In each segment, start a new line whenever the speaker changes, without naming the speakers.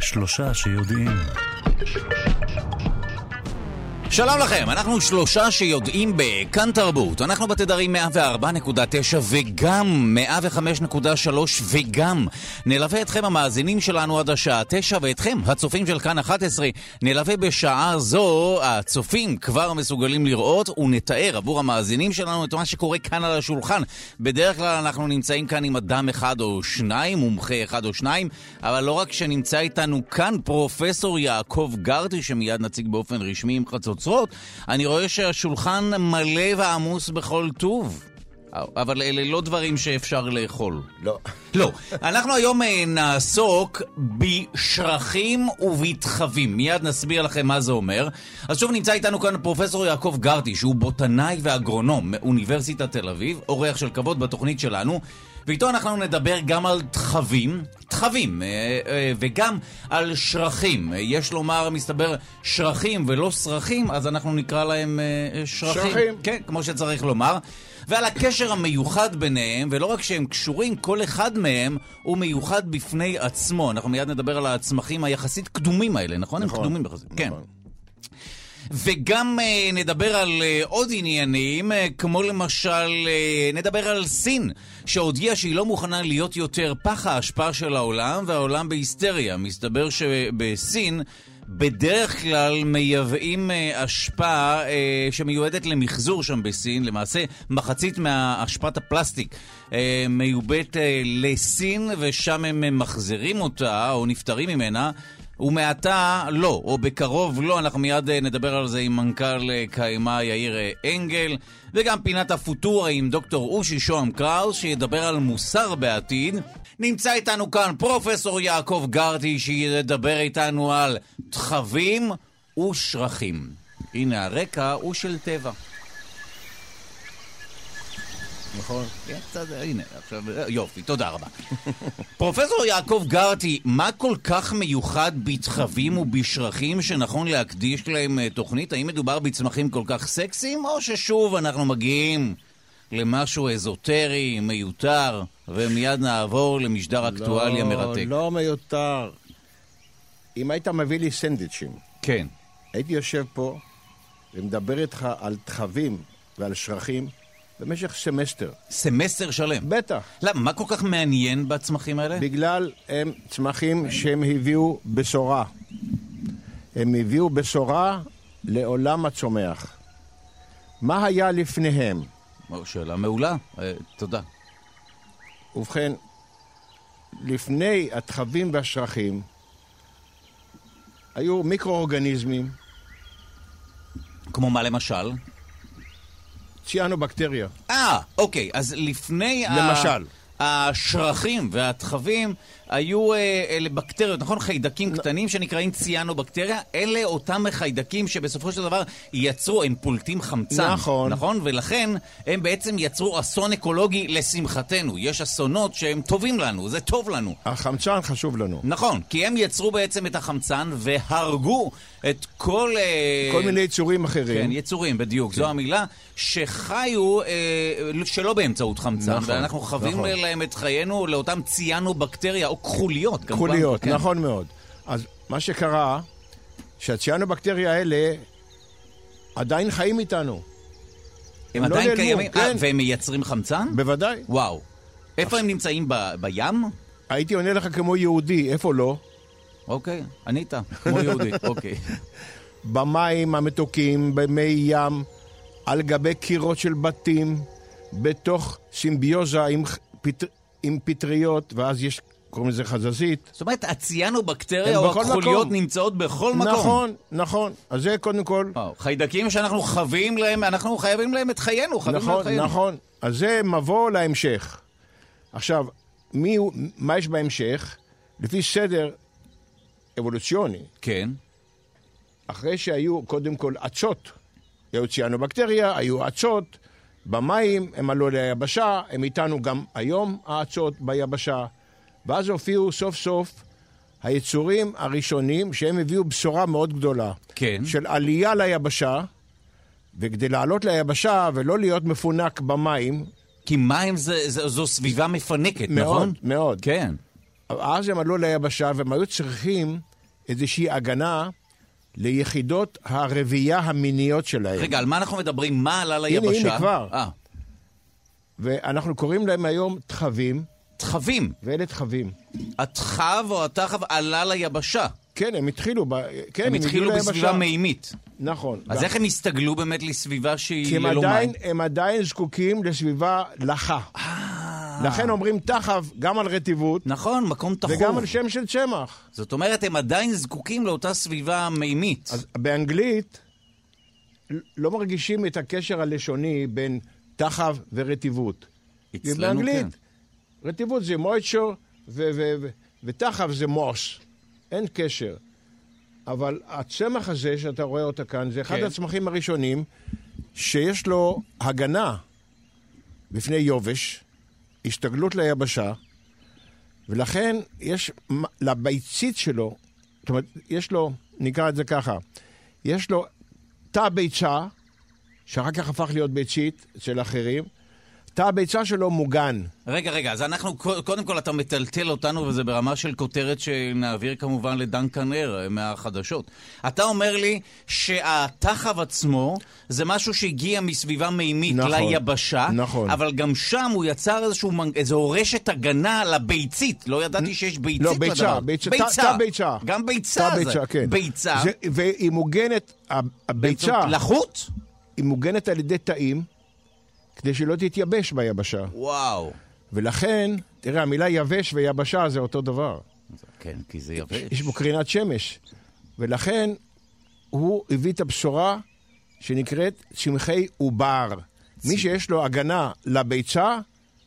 שלושה שיודעים.
שלום לכם, אנחנו שלושה שיודעים בכאן תרבות. אנחנו בתדרים 104.9 וגם 105.3 וגם. נלווה אתכם המאזינים שלנו עד השעה 9 ואתכם, הצופים של כאן 11, נלווה בשעה זו, הצופים כבר מסוגלים לראות ונתאר עבור המאזינים שלנו את מה שקורה כאן על השולחן. בדרך כלל אנחנו נמצאים כאן עם אדם אחד או שניים, מומחה אחד או שניים, אבל לא רק שנמצא איתנו כאן פרופסור יעקב גרטי, שמיד נציג באופן רשמי עם חצות. אוצרות, אני רואה שהשולחן מלא ועמוס בכל טוב. אבל אלה לא דברים שאפשר לאכול.
לא.
לא. אנחנו היום אה, נעסוק בשרחים ובתחבים. מיד נסביר לכם מה זה אומר. אז שוב נמצא איתנו כאן פרופסור יעקב גרטי, שהוא בוטנאי ואגרונום מאוניברסיטת תל אביב, אורח של כבוד בתוכנית שלנו. ואיתו אנחנו נדבר גם על תחבים, תחבים, אה, אה, וגם על שרחים. אה, יש לומר, מסתבר, שרחים ולא סרחים, אז אנחנו נקרא להם אה, אה, שרחים.
שרחים.
כן, כמו שצריך לומר. ועל הקשר המיוחד ביניהם, ולא רק שהם קשורים, כל אחד מהם הוא מיוחד בפני עצמו. אנחנו מיד נדבר על הצמחים היחסית קדומים האלה, נכון? נכון. הם קדומים יחסית. כן. וגם אה, נדבר על אה, עוד עניינים, אה, כמו למשל, אה, נדבר על סין, שהודיעה שהיא לא מוכנה להיות יותר פח האשפה של העולם, והעולם בהיסטריה. מסתבר שבסין... בדרך כלל מייבאים אה, אשפה אה, שמיועדת למחזור שם בסין, למעשה מחצית מהאשפת הפלסטיק אה, מיובאת אה, לסין ושם הם אה, מחזירים אותה או נפטרים ממנה ומעתה לא, או בקרוב לא, אנחנו מיד אה, נדבר על זה עם מנכ"ל אה, קיימא יאיר אה, אנגל, וגם פינת הפוטורה עם דוקטור אושי שוהם קראוס, שידבר על מוסר בעתיד. נמצא איתנו כאן פרופסור יעקב גרטי, שידבר איתנו על תחבים ושרחים. הנה הרקע הוא של טבע.
נכון.
כן, קצת, הנה, עכשיו, אה, יופי, תודה רבה. פרופסור יעקב גרטי, מה כל כך מיוחד בתחבים ובשרחים שנכון להקדיש להם אה, תוכנית? האם מדובר בצמחים כל כך סקסיים, או ששוב אנחנו מגיעים למשהו אזוטרי, מיותר, ומיד נעבור למשדר אקטואליה
לא,
מרתק?
לא מיותר. אם היית מביא לי סנדוויצ'ים,
כן.
הייתי יושב פה ומדבר איתך על תחבים ועל שרחים במשך סמסטר.
סמסטר שלם.
בטח.
למה, מה כל כך מעניין בצמחים האלה?
בגלל הם צמחים שהם הביאו בשורה. הם הביאו בשורה לעולם הצומח. מה היה לפניהם?
או, שאלה מעולה, אה, תודה.
ובכן, לפני התחבים והשרחים היו מיקרואורגניזמים,
כמו מה למשל?
ציאנובקטריה.
אה, אוקיי, אז לפני... ה-
למשל.
השרחים והתחבים היו אה, אלה בקטריות, נכון? חיידקים קטנים שנקראים ציאנובקטריה. אלה אותם חיידקים שבסופו של דבר יצרו, הם פולטים חמצן.
נכון.
נכון? ולכן הם בעצם יצרו אסון אקולוגי לשמחתנו. יש אסונות שהם טובים לנו, זה טוב לנו.
החמצן חשוב לנו.
נכון, כי הם יצרו בעצם את החמצן והרגו את כל... אה,
כל מיני יצורים אחרים.
כן, יצורים, בדיוק, זו המילה, שחיו אה, שלא באמצעות חמצן,
נכון,
ואנחנו חווים
נכון.
להם את חיינו לאותם ציאנובקטריה או כחוליות. כמובן,
חוליות,
כן.
נכון מאוד. אז מה שקרה, שהציאנובקטריה האלה עדיין חיים איתנו.
הם
הם לא
עדיין
נעלמו,
קיימים,
כן.
אה, והם מייצרים חמצן?
בוודאי.
וואו. איפה הם נמצאים? ב- בים?
הייתי עונה לך כמו יהודי, איפה לא?
אוקיי, ענית, כמו יהודי, אוקיי.
במים המתוקים, במי ים, על גבי קירות של בתים, בתוך סימביוזה עם, ח- פטר, עם פטריות, ואז יש, קוראים לזה חזזית.
זאת אומרת,
הם
הציאנובקטריה או
בכל
הכחוליות
מקום.
נמצאות בכל מקום.
נכון, נכון. אז זה קודם כל,
וואו, חיידקים שאנחנו חווים להם, אנחנו חייבים להם את חיינו, חייבים להם את
נכון,
חיינו.
נכון. אז זה מבוא להמשך. עכשיו, מי, הוא- מה יש בהמשך? לפי סדר אבולוציוני,
כן,
אחרי שהיו קודם כל אצות, היו ציאנובקטריה, היו אצות, במים הם עלו ליבשה, הם איתנו גם היום האצות ביבשה, ואז הופיעו סוף סוף היצורים הראשונים שהם הביאו בשורה מאוד גדולה.
כן.
של עלייה ליבשה, וכדי לעלות ליבשה ולא להיות מפונק במים,
כי מים זה, זה, זו סביבה מפנקת,
מאוד,
נכון?
מאוד.
כן.
אז הם עלו ליבשה והם היו צריכים איזושהי הגנה ליחידות הרבייה המיניות שלהם.
רגע, על מה אנחנו מדברים? מה עלה ליבשה?
כן. הנה, הנה, כבר.
אה,
ואנחנו קוראים להם היום תחבים,
תחבים.
ואלה תחבים.
התחב או התחב עלה ליבשה.
כן, הם התחילו, ב... כן,
הם התחילו
הגיעו
בסביבה
ליבשה.
מימית.
נכון.
אז
ו-
איך הם הסתגלו באמת לסביבה שהיא
כי הם
ללא מים?
עדיין, הם עדיין זקוקים לסביבה לחה. לכן אומרים תחב גם על רטיבות,
אה. נכון, מקום תחום.
וגם על שם של צמח.
זאת אומרת, הם עדיין זקוקים לאותה סביבה מימית.
אז באנגלית לא מרגישים את הקשר הלשוני בין תחב ורטיבות.
אצלנו
באנגלית,
כן.
רטיבות זה מויצ'ו ו- ו- ו- ותחב זה מוס. אין קשר. אבל הצמח הזה שאתה רואה אותו כאן, זה אחד
כן.
הצמחים הראשונים שיש לו הגנה בפני יובש, השתגלות ליבשה, ולכן יש מ- לביצית שלו, זאת אומרת, יש לו, נקרא את זה ככה, יש לו תא ביצה, שאחר כך הפך להיות ביצית אצל אחרים, תא הביצה שלו מוגן.
רגע, רגע, אז אנחנו, קודם כל אתה מטלטל אותנו, וזה ברמה של כותרת שנעביר כמובן לדן כנר מהחדשות. אתה אומר לי שהתחב עצמו זה משהו שהגיע מסביבה מימית
נכון,
ליבשה,
נכון.
אבל גם שם הוא יצר איזשהו, מנ- איזו הורשת הגנה על הביצית. לא ידעתי שיש ביצית
לא, ביצה,
לדבר.
ביצה, תא- תא ביצה.
גם ביצה
תא
זה.
ביצה, כן.
ביצה.
זה, והיא מוגנת, ה- הביצה,
באמצעות לחות?
היא מוגנת על ידי תאים, כדי שלא תתייבש ביבשה.
וואו.
ולכן, תראה, המילה יבש ויבשה זה אותו דבר.
כן, כי זה יבש.
יש בו קרינת שמש. ולכן, הוא הביא את הבשורה שנקראת צמחי עובר. מי שיש לו הגנה לביצה,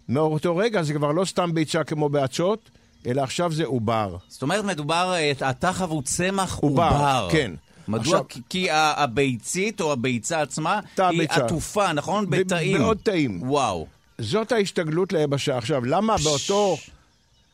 מאותו רגע זה כבר לא סתם ביצה כמו באצות, אלא עכשיו זה עובר.
זאת אומרת, מדובר, אה, התחב הוא צמח
עובר,
עובר.
כן.
מדוע?
עכשיו-
כי, כי ה- הביצית או הביצה עצמה
תא
היא
הביצה.
עטופה, נכון?
ב-
בתאים.
בעוד תאים.
וואו.
זאת ההשתגלות ליבשה. עכשיו, למה באותו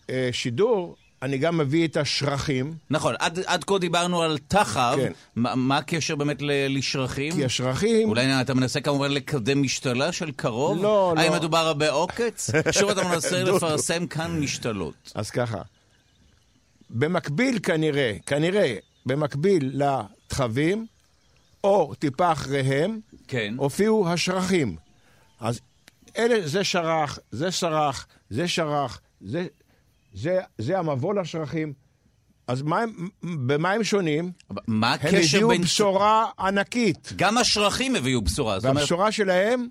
אה, שידור אני גם מביא את השרחים?
נכון, עד, עד כה דיברנו על תחב.
כן.
מה, מה הקשר באמת ל- לשרחים?
כי השרחים...
Mm. אולי אתה מנסה כמובן לקדם משתלה של קרוב?
לא, לא.
האם מדובר בעוקץ? שוב אתה מנסה לפרסם כאן משתלות.
אז ככה, במקביל כנראה, כנראה, במקביל לתחבים, או טיפה אחריהם,
כן.
הופיעו השרחים. אז אלה, זה שרח, זה שרח, זה שרח, זה, זה, זה המבוא לשרחים. אז מה הם, במה הם שונים?
מה
הם
הקשר
הביאו
בין...
בשורה ענקית.
גם השרחים הביאו בשורה. זאת אומרת,
והבשורה שלהם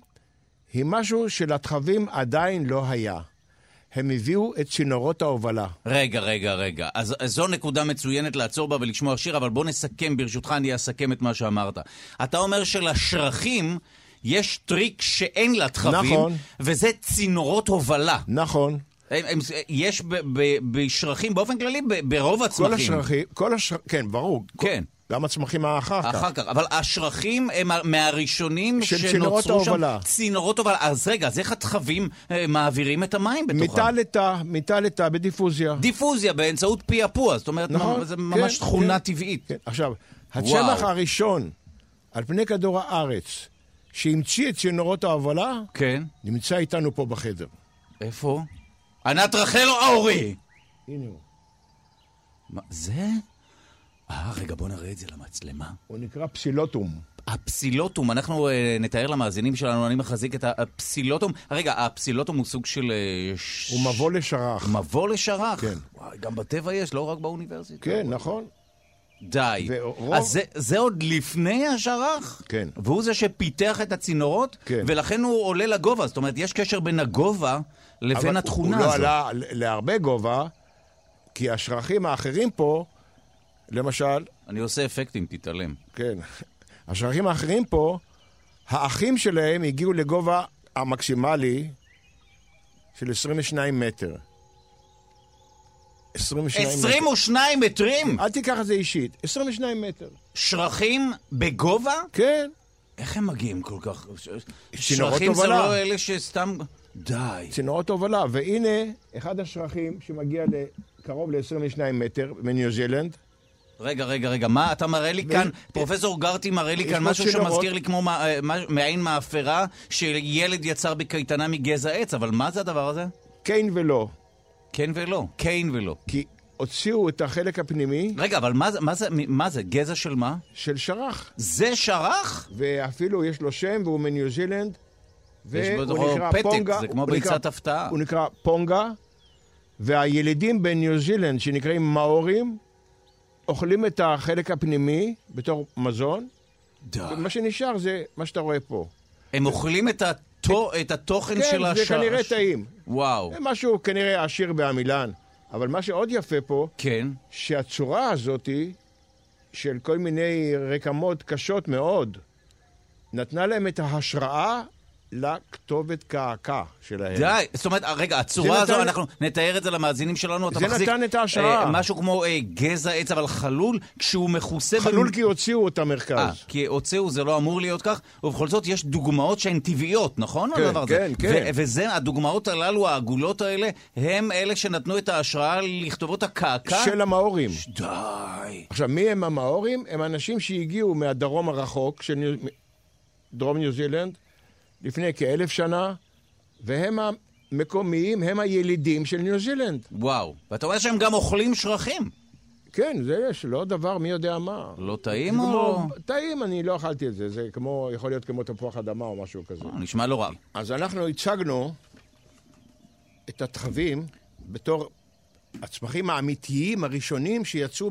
היא משהו שלתחבים עדיין לא היה. הם הביאו את צינורות ההובלה.
רגע, רגע, רגע. אז, אז זו נקודה מצוינת לעצור בה ולשמוע שיר, אבל בוא נסכם, ברשותך, אני אסכם את מה שאמרת. אתה אומר שלשרחים יש טריק שאין לתחבים,
נכון.
וזה צינורות הובלה.
נכון.
הם, הם, יש ב, ב, בשרחים, באופן כללי, ב, ברוב הצמחים.
כל השרחים, כל השרחים, כן, ברור.
כן.
כל- גם הצמחים האחר כך.
אחר כך, אבל השרחים הם ה- מהראשונים
של
שנוצרו
צינורות ההובלה.
שם. צינורות ההובלה. אז רגע, אז איך התחבים אה, מעבירים את המים בתוכם?
מיטה לתא, מיטה לתא בדיפוזיה.
דיפוזיה באמצעות פעפוע, זאת אומרת,
נכון,
זה
כן,
ממש תכונה
כן.
טבעית.
כן. עכשיו, הצמח
וואו.
הראשון על פני כדור הארץ שהמציא את צינורות ההובלה,
כן.
נמצא איתנו פה בחדר.
איפה? ענת רחל אורי!
הנה הוא.
מה, זה? אה, רגע, בוא נראה את זה למצלמה.
הוא נקרא פסילוטום.
הפסילוטום, אנחנו אה, נתאר למאזינים שלנו, אני מחזיק את הפסילוטום. רגע, הפסילוטום הוא סוג של... אה, ש-
הוא מבוא לשרח.
מבוא לשרח.
כן.
וואי, גם בטבע יש, לא רק באוניברסיטה.
כן, נכון.
די.
ורוב-
אז זה, זה עוד לפני השרח?
כן.
והוא זה שפיתח את הצינורות?
כן.
ולכן הוא עולה לגובה. זאת אומרת, יש קשר בין הגובה לבין
אבל
התכונה
הוא
הזאת.
הוא לא עלה ל- להרבה גובה, כי השרחים האחרים פה, למשל,
אני עושה אפקטים, תתעלם.
כן, השרחים האחרים פה, האחים שלהם הגיעו לגובה המקסימלי של 22 מטר. 22 מטר.
22 מטרים?
אל תיקח את זה אישית, 22 מטר.
שרחים בגובה?
כן,
איך הם מגיעים כל כך? ש-
צינורות
שרחים זה
הובלה.
לא אלה שסתם... די.
צינורות הובלה. והנה אחד השרחים שמגיע לקרוב ל-22 מטר מניו זילנד.
רגע, רגע, רגע, מה אתה מראה לי כאן? פרופסור גרטי מראה לי
יש
כאן
פה
משהו
צינורות.
שמזכיר לי כמו מה- אה, מה- מעין מאפרה שילד יצר בקייטנה מגזע עץ, אבל מה זה הדבר הזה?
כן ולא,
כן ולא, כן ולא.
כי הוציאו את החלק הפנימי
רגע, אבל מה זה, מה זה, מה זה, גזע של מה?
של שרח,
זה שרח?
ואפילו יש לו שם, והוא מניו זילנד,
יש בו
והוא נקרא
פתק,
פונגה.
זה כמו
הוא נקרא-
ביצת הפתעה.
הוא נקרא פונגה, והילידים בניו זילנד, שנקראים מאורים, אוכלים את החלק הפנימי בתור מזון,
די.
ומה שנשאר זה מה שאתה רואה פה.
הם אוכלים את התו- את התוכן
כן,
של
זה
השרש.
כנראה טעים.
וואו.
זה משהו כנראה עשיר בעמילן. אבל מה שעוד יפה פה,
כן.
שהצורה הזאתי של כל מיני רקמות קשות מאוד, נתנה להם את ההשראה לכתובת קעקע שלהם.
די, זאת אומרת, רגע, הצורה
כן. זה
הזו,
נתן-
אנחנו נתאר את זה למאזינים שלנו, אתה
זה
מחזיק...
נתן את ההשראה.
אה, משהו כמו אה, גזע עץ, אבל חלול, כשהוא מכוסה...
חלול
במ-
כי הוציאו אותה
אה,
מרכז.
כי הוציאו, זה לא אמור להיות כך, ובכל זאת יש דוגמאות שהן טבעיות, נכון?
כן,
הדבר הזה?
כן, כן.
ו- וזה, הדוגמאות הללו, העגולות האלה, הם אלה שנתנו את ההשראה לכתובות הקעקע?
של המאורים.
די.
עכשיו, מי הם המאורים? הם אנשים שהגיעו מהדרום הרחוק, של ניו... דרום ניו זילנד, לפני כאלף שנה, והם המקומיים, הם הילידים של ניו זילנד.
וואו. ואתה אומר שהם גם אוכלים שרחים.
כן, זה יש, לא דבר מי יודע מה.
לא
זה
טעים או...
כמו... טעים, אני לא אכלתי את זה, זה כמו, יכול להיות כמו תפוח אדמה או משהו כזה.
אה, נשמע לא רע.
אז אנחנו הצגנו את התחבים בתור הצמחים האמיתיים הראשונים שיצאו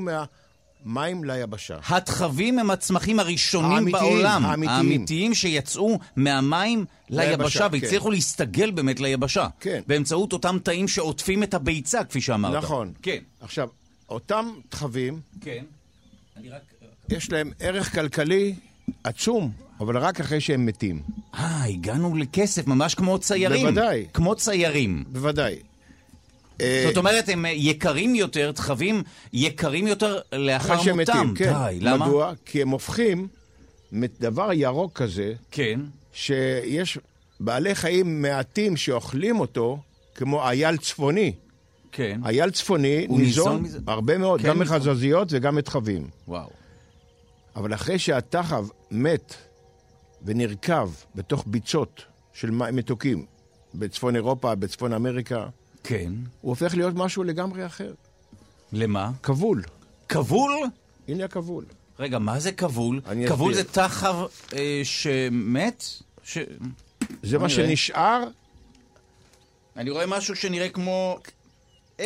מהמים ליבשה.
התחבים הם הצמחים הראשונים
האמיתיים,
בעולם.
האמיתיים.
האמיתיים שיצאו מהמים ליבשה,
ליבשה, כן.
והצליחו להסתגל באמת ליבשה.
כן.
באמצעות אותם תאים שעוטפים את הביצה, כפי שאמרת.
נכון.
כן.
עכשיו, אותם תחבים,
כן. אני רק...
יש להם ערך כלכלי עצום, אבל רק אחרי שהם מתים.
אה, הגענו לכסף, ממש כמו ציירים.
בוודאי.
כמו ציירים.
בוודאי. אה,
זאת אומרת, הם אה, יקרים יותר, תחבים יקרים יותר לאחר
אחרי שהם
מותם.
מתים, כן.
די, למה?
מדוע? כי הם הופכים מדבר ירוק כזה,
כן.
שיש בעלי חיים מעטים שאוכלים אותו, כמו אייל צפוני.
כן.
אייל צפוני
הוא ניזון
ניזון
מזה?
הרבה מאוד,
כן,
גם
ניזון.
מחזזיות וגם מתחבים.
וואו.
אבל אחרי שהתחב מת ונרקב בתוך ביצות של מים מתוקים בצפון אירופה, בצפון אמריקה,
כן.
הוא הופך להיות משהו לגמרי אחר.
למה?
כבול.
כבול?
הנה הכבול.
רגע, מה זה כבול?
אני
כבול זה
אסביר.
תחב אה, שמת? ש...
זה מה
נראה.
שנשאר,
אני רואה משהו שנראה כמו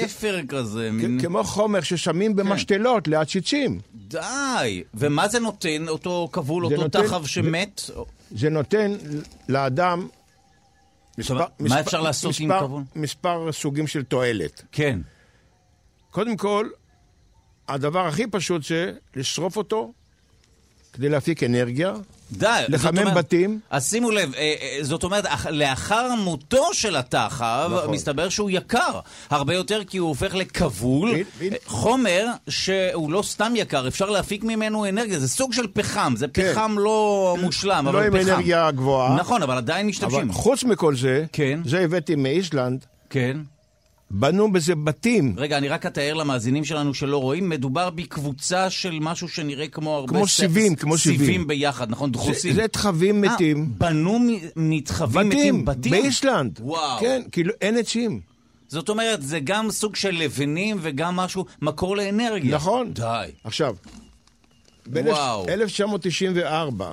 אפר כזה, מין...
כ- כמו חומר
כן.
ששמים במשתלות לעציצים.
די! ומה זה נותן, אותו כבול,
זה
אותו
נותן-
תחב שמת?
זה נותן לאדם מספר-
מה
מספר-
אפשר לעשות עם
מספר-
כבול?
מספר סוגים של תועלת.
כן.
קודם כל, הדבר הכי פשוט זה לשרוף אותו כדי להפיק אנרגיה,
די. זאת
לחמם
אומרת-
בתים.
אז שימו לב, אה, אה, זאת אומרת, אח- לאחר מותו של התחב,
נכון.
מסתבר שהוא יקר הרבה יותר, כי הוא הופך לכבול. אה,
הנה, הנה.
חומר שהוא לא סתם יקר, אפשר להפיק ממנו אנרגיה. זה סוג של פחם, זה
כן.
פחם לא מושלם,
לא
אבל
עם
פחם.
אנרגיה גבוהה.
נכון, אבל עדיין משתמשים.
אבל חוץ מכל זה,
כן.
זה הבאתי מאיסלנד,
כן.
בנו בזה בתים,
רגע, אני רק אתאר למאזינים שלנו שלא רואים, מדובר בקבוצה של משהו שנראה כמו הרבה...
כמו
ס-
סיבים, כמו
סיבים
סיבים.
ביחד, נכון?
זה
דחוסים.
זה תחבים
אה,
מתים.
בנו מ- מתחבים מתים בתים?
באיסלנד.
וואו.
כן, כאילו אין עצים.
זאת אומרת, זה גם סוג של לבנים וגם משהו, מקור לאנרגיה.
נכון.
די.
עכשיו,
וואו.
ב-1994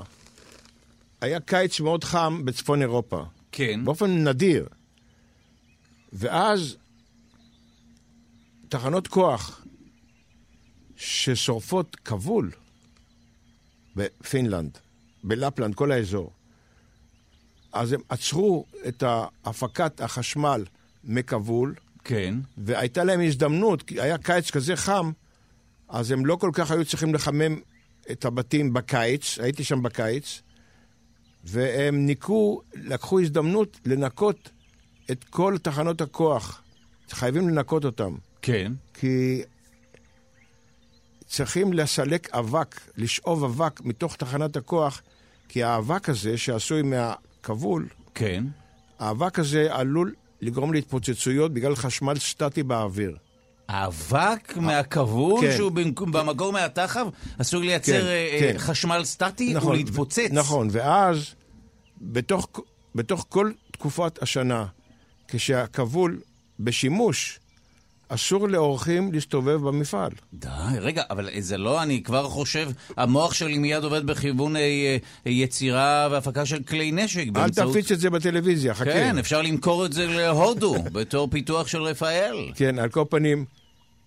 היה קיץ מאוד חם בצפון אירופה.
כן.
באופן נדיר. ואז תחנות כוח ששורפות כבול בפינלנד, בלפלנד, כל האזור, אז הם עצרו את הפקת החשמל מכבול,
כן.
והייתה להם הזדמנות, כי היה קיץ כזה חם, אז הם לא כל כך היו צריכים לחמם את הבתים בקיץ, הייתי שם בקיץ, והם ניקו, לקחו הזדמנות לנקות את כל תחנות הכוח. חייבים לנקות אותם,
כן.
כי צריכים לסלק אבק, לשאוב אבק מתוך תחנת הכוח, כי האבק הזה שעשוי מהכבול,
כן.
האבק הזה עלול לגרום להתפוצצויות בגלל חשמל סטטי באוויר.
האבק מהכבול,
אה, כן.
שהוא במקום- במקור מהתחב, עשוי לייצר
כן,
אה, אה,
כן.
חשמל סטטי ולהתפוצץ.
נכון, ואז בתוך, בתוך כל תקופת השנה, כשהכבול בשימוש, אסור לאורחים להסתובב במפעל.
די, רגע, אבל זה לא, אני כבר חושב, המוח שלי מיד עובד בכיוון אה, אה, יצירה והפקה של כלי נשק
אל
באמצעות...
תפיץ את זה בטלוויזיה, חכה.
כן, אפשר למכור את זה להודו, בתור פיתוח של רפאל.
כן, על כל פנים,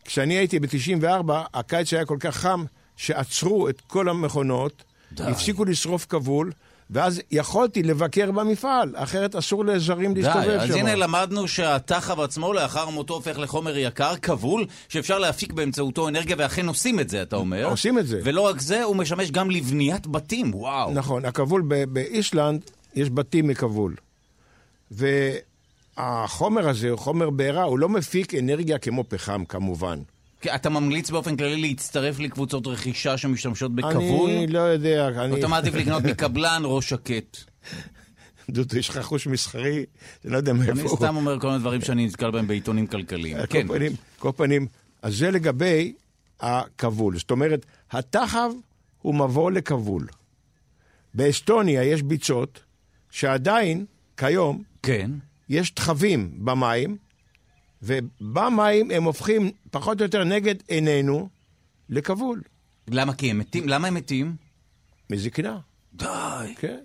כשאני הייתי ב-94, הקיץ היה כל כך חם, שעצרו את כל המכונות,
די.
הפסיקו לשרוף כבול, ואז יכולתי לבקר במפעל, אחרת אסור לזרים
די,
להסתובב שם.
אז הנה למדנו שהתחב עצמו לאחר מותו הופך לחומר יקר, כבול, שאפשר להפיק באמצעותו אנרגיה, ואכן עושים את זה, אתה אומר.
עושים את זה.
ולא רק זה, הוא משמש גם לבניית בתים, וואו.
נכון, הכבול ב- באיסלנד, יש בתים מכבול. והחומר הזה הוא חומר בעירה, הוא לא מפיק אנרגיה כמו פחם, כמובן.
כי אתה ממליץ באופן כללי להצטרף לקבוצות רכישה שמשתמשות בכבול?
אני לא יודע, אני...
אתה מעדיף לקנות מקבלן ראש שקט.
דודו, יש לך חוש מסחרי, אני לא יודע מאיפה הוא.
אני סתם אומר כל מיני דברים שאני נתקל בהם בעיתונים כלכליים.
על
כן.
כל פנים, כל פנים, אז זה לגבי הכבול. זאת אומרת, התחב הוא מבוא לכבול. באסטוניה יש ביצות שעדיין, כיום,
כן.
יש תחבים במים, ובמים הם הופכים פחות או יותר נגד עינינו לכבול,
למה? כי הם מתים? למה הם מתים?
מזקנה,
די.
כן.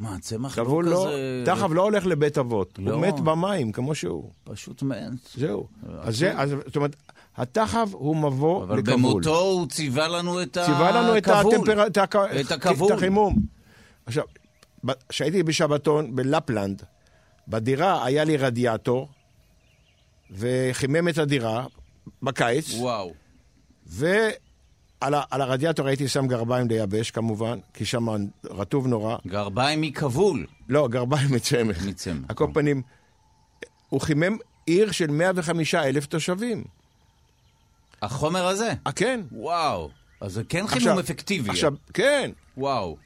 מה, צמח
כבול
לא
לא,
כזה...
תחב לא הולך לבית אבות,
לא.
הוא מת במים כמו שהוא,
פשוט מת.
זהו. אז זה, אז, זאת אומרת, התחב הוא מבוא
אוקיי. אבל
לכבול.
במותו הוא ציווה לנו את הכבול.
ציווה לנו את הטמפרטורה,
את הכבול.
את החימום. עכשיו, ב- כשהייתי בשבתון בלפלנד, בדירה היה לי רדיאטור, וחימם את הדירה בקיץ,
וואו.
ועל ה- על הרדיאטור הייתי שם גרביים לייבש כמובן, כי שם רטוב נורא.
גרביים מכבול.
לא, גרביים מצמח.
מצמח,
על כל
כן.
פנים, הוא חימם עיר של 105 אלף תושבים.
החומר הזה.
אה, כן.
וואו. אז זה כן
עכשיו-
חימום אפקטיבי.
עכשיו, כן.
וואו.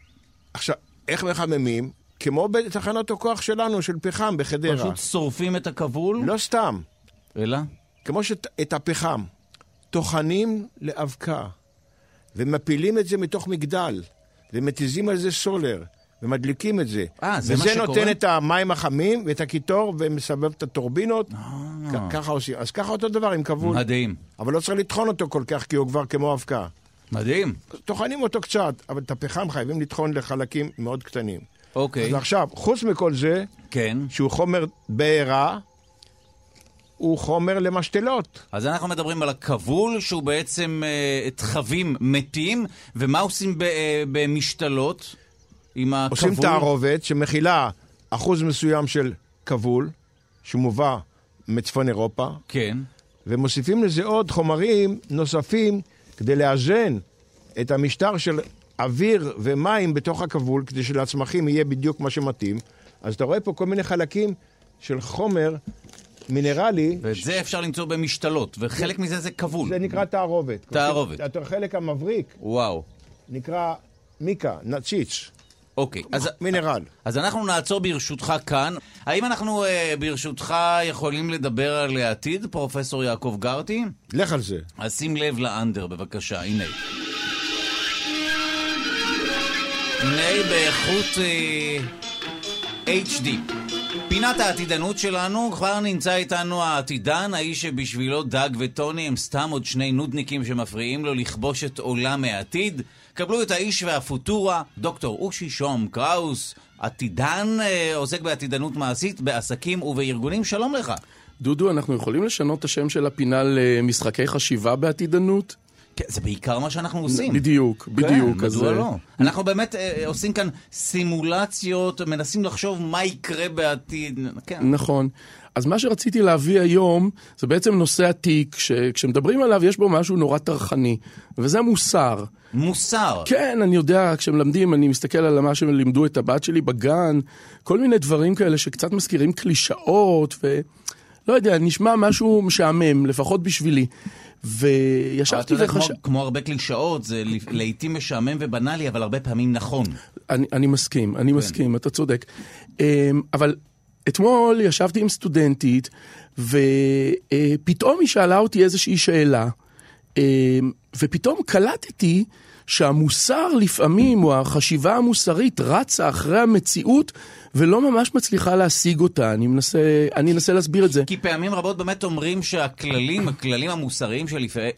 עכשיו, איך מחממים? כמו בתחנות הכוח שלנו, של פחם בחדרה.
פשוט שורפים את הכבול?
לא סתם.
אלא?
כמו שאת הפחם טוחנים לאבקה, ומפילים את זה מתוך מגדל, ומתיזים על זה סולר, ומדליקים את זה.
אה, זה מה
וזה
שקורה?
נותן את המים החמים ואת הקיטור, ומסבב את הטורבינות.
אה.
כ- ככה עושים. אז ככה אותו דבר עם כבול.
מדהים.
אבל לא צריך לטחון אותו כל כך, כי הוא כבר כמו אבקה.
מדהים.
טוחנים אותו קצת, אבל את הפחם חייבים לטחון לחלקים מאוד קטנים.
אוקיי.
אז עכשיו, חוץ מכל זה,
כן.
שהוא חומר בעירה, הוא חומר למשתלות.
אז אנחנו מדברים על הכבול, שהוא בעצם אה, תחבים מתים, ומה עושים ב, אה, במשתלות עם הכבול?
עושים תערובת שמכילה אחוז מסוים של כבול, שמובא מצפון אירופה,
כן.
ומוסיפים לזה עוד חומרים נוספים כדי לאזן את המשטר של אוויר ומים בתוך הכבול, כדי שלצמחים יהיה בדיוק מה שמתאים. אז אתה רואה פה כל מיני חלקים של חומר מינרלי,
ואת זה אפשר למצוא במשתלות, וחלק מזה זה כבול.
זה נקרא תערובת.
תערובת.
החלק המבריק
וואו.
נקרא מיקה, נציץ,
אוקיי, אז,
מינרל.
אז אנחנו נעצור ברשותך כאן. האם אנחנו אה, ברשותך יכולים לדבר על העתיד, פרופסור יעקב גרטי?
לך על זה.
אז שים לב לאנדר בבקשה, הנה. הנה באיכות אה, HD. פינת העתידנות שלנו, כבר נמצא איתנו העתידן, האיש שבשבילו דג וטוני הם סתם עוד שני נודניקים שמפריעים לו לכבוש את עולם העתיד. קבלו את האיש והפוטורה, דוקטור אושי שום קראוס, עתידן, אה, עוסק בעתידנות מעשית, בעסקים ובארגונים. שלום לך.
דודו, אנחנו יכולים לשנות את השם של הפינה למשחקי חשיבה בעתידנות?
כן, זה בעיקר מה שאנחנו עושים.
בדיוק, בדיוק.
כן,
אז,
מדוע
אה,
לא? אנחנו באמת אה, עושים כאן סימולציות, מנסים לחשוב מה יקרה בעתיד. כן.
נכון. אז מה שרציתי להביא היום, זה בעצם נושא עתיק, שכשמדברים עליו יש בו משהו נורא טרחני, וזה מוסר.
מוסר.
כן, אני יודע, כשמלמדים, אני מסתכל על מה שהם לימדו את הבת שלי בגן, כל מיני דברים כאלה שקצת מזכירים קלישאות, ו... לא יודע, נשמע משהו משעמם, לפחות בשבילי.
אבל אתה
וישבתי
יודע, כמו-
וחשבתי...
כמו הרבה קלישאות, זה לפ- לעיתים משעמם ובנאלי, אבל הרבה פעמים נכון.
אני, אני מסכים, אני כן. מסכים, אתה צודק. אמ, אבל אתמול ישבתי עם סטודנטית, ופתאום היא שאלה אותי איזושהי שאלה, אמ, ופתאום קלטתי שהמוסר לפעמים, או החשיבה המוסרית, רצה אחרי המציאות ולא ממש מצליחה להשיג אותה. אני מנסה, אני אנסה להסביר את זה.
כי פעמים רבות באמת אומרים שהכללים, הכללים המוסריים